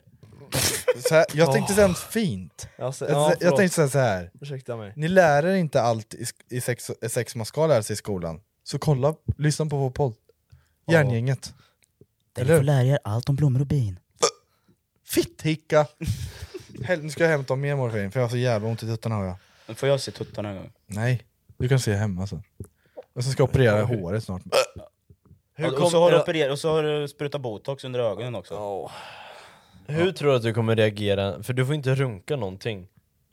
Så här, jag tänkte säga något fint.
Alltså,
Jag,
ja,
jag
förlåt.
tänkte säga så här.
Ursäkta mig.
Ni lär er inte allt i, sk- i sex, i sex man ska lära sig i skolan. Så kolla, lyssna på vår podd. Järngänget.
Där
Eller
ni får
hur?
lära er allt om blommor och bin.
Fitthicka! Hel- nu ska jag hämta mer morfin, för jag har så jävla ont i tuttarna har jag.
Men Får jag se tuttarna en gång?
Nej, du kan se hemma sen. Och sen ska jag operera håret snart.
Hur
och,
kom-
så har du
jag-
opererat, och så har du sprutat botox under ögonen också.
Hur tror du att du kommer reagera? För du får inte runka någonting.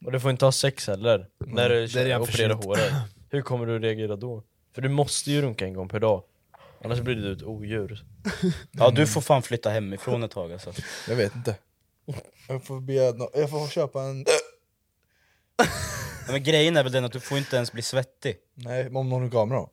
Och du får inte ha sex heller. När du
Mm, det är redan för
opererar
sent.
håret. Hur kommer du reagera då? För du måste ju runka en gång per dag. Annars blir du ett odjur.
Ja du får fan flytta hemifrån ett tag alltså.
Jag vet inte. Jag får, be, jag får köpa en...
Men grejen är väl den att du får inte ens bli svettig.
Nej, om någon har kamera då.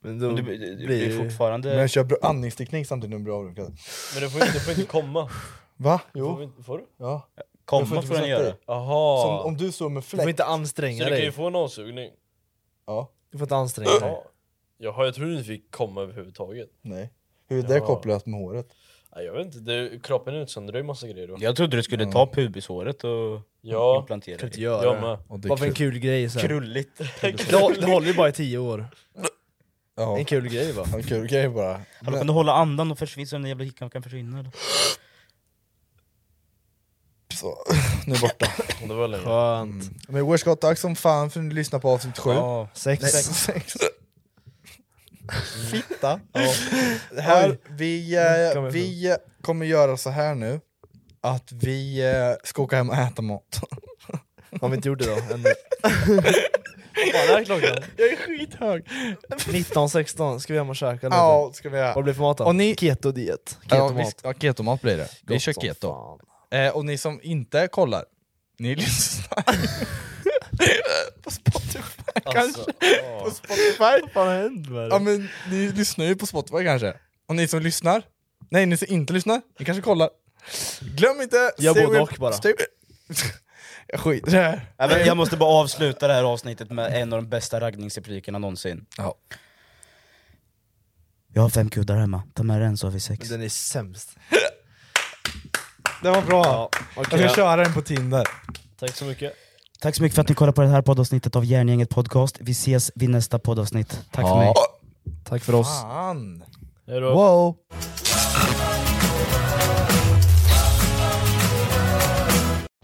Men då
Du, du, du blir
Men
fortfarande...
jag kör br- andningsteknik samtidigt när jag blir avrunkad.
Men du får inte, du får inte komma.
Va?
Får, vi,
Jo.
inte- får du?
Ja. jag får
Komma
inte
får den
bli
göra.
svettig.
Jaha.
Som, om du står med
Du får
fläkt...
inte
Så
anstränga
du kan ju
dig.
få en avsugning.
Ja.
Du får inte anstränga dig.
Ja. Jaha, jag trodde du inte fick komma överhuvudtaget.
Nej. Hur är det
Ja.
kopplat med håret?
Nej, jag vet inte, det, kroppen utsöndrar ju massa grejer då.
Jag trodde du skulle ta pubishåret och
Ja.
implantera
Kan inte
det.
göra
Jag
det.
med.
Och det är
Bara för en
kul.
kul grej så här.
Krulligt.
Det hå- det håller ju bara i tio år.
Ja.
En kul grej va?
En kul grej bara.
Hallå, kan du hålla andan och försvinna så den jävla hickan kan försvinna eller?
Så. Nu är jag borta.
Det var länge.
Skönt.
Men Worst tack som fan för att ni lyssnar på avsnitt 7.
Ja.
Sex.
Nej, sex. Fitta. Här, vi
Nu
eh,
kommer
vi eh, kommer göra så här nu, att vi eh, ska åka hem och äta mat.
Har vi inte gjort det då? Ännu. Vad är klockan? Jag är skithög. 19.16 ska vi hem och käka lite.
Ja, ska vi
Vad
göra.
blir det för mat då?
Och ni-
Keto-diet.
Ja,
Keto-mat.
vi ska- ja, Ketomat blir det. Vi
Gott
kör
som
keto.
fan.
Eh, och ni som inte kollar, ni lyssnar. på Spotify kanske. På Spotify.
Alltså, Vad fan har hänt med
Ja
det?
men ni lyssnar ju på Spotify kanske? Och ni som lyssnar? Nej ni som inte lyssnar, ni kanske kollar? Glöm inte...
Gör
stay
både
with-
och bara.
stay- jag skiter i det här.
Nej, men Jag måste bara avsluta det här avsnittet med en av de bästa raggningsreplikerna någonsin.
Ja.
Jag har fem kuddar hemma, ta med dig en så har vi sex.
Den är sämst.
Det var bra.
Ja,
Jag ska
okej.
köra den på Tinder.
Tack så mycket.
Tack så mycket för att ni kollade på det här poddavsnittet av Järngänget Podcast. Vi ses vid nästa poddavsnitt. Tack för mig.
Tack för oss.
Fan!
Hejdå.
Wow!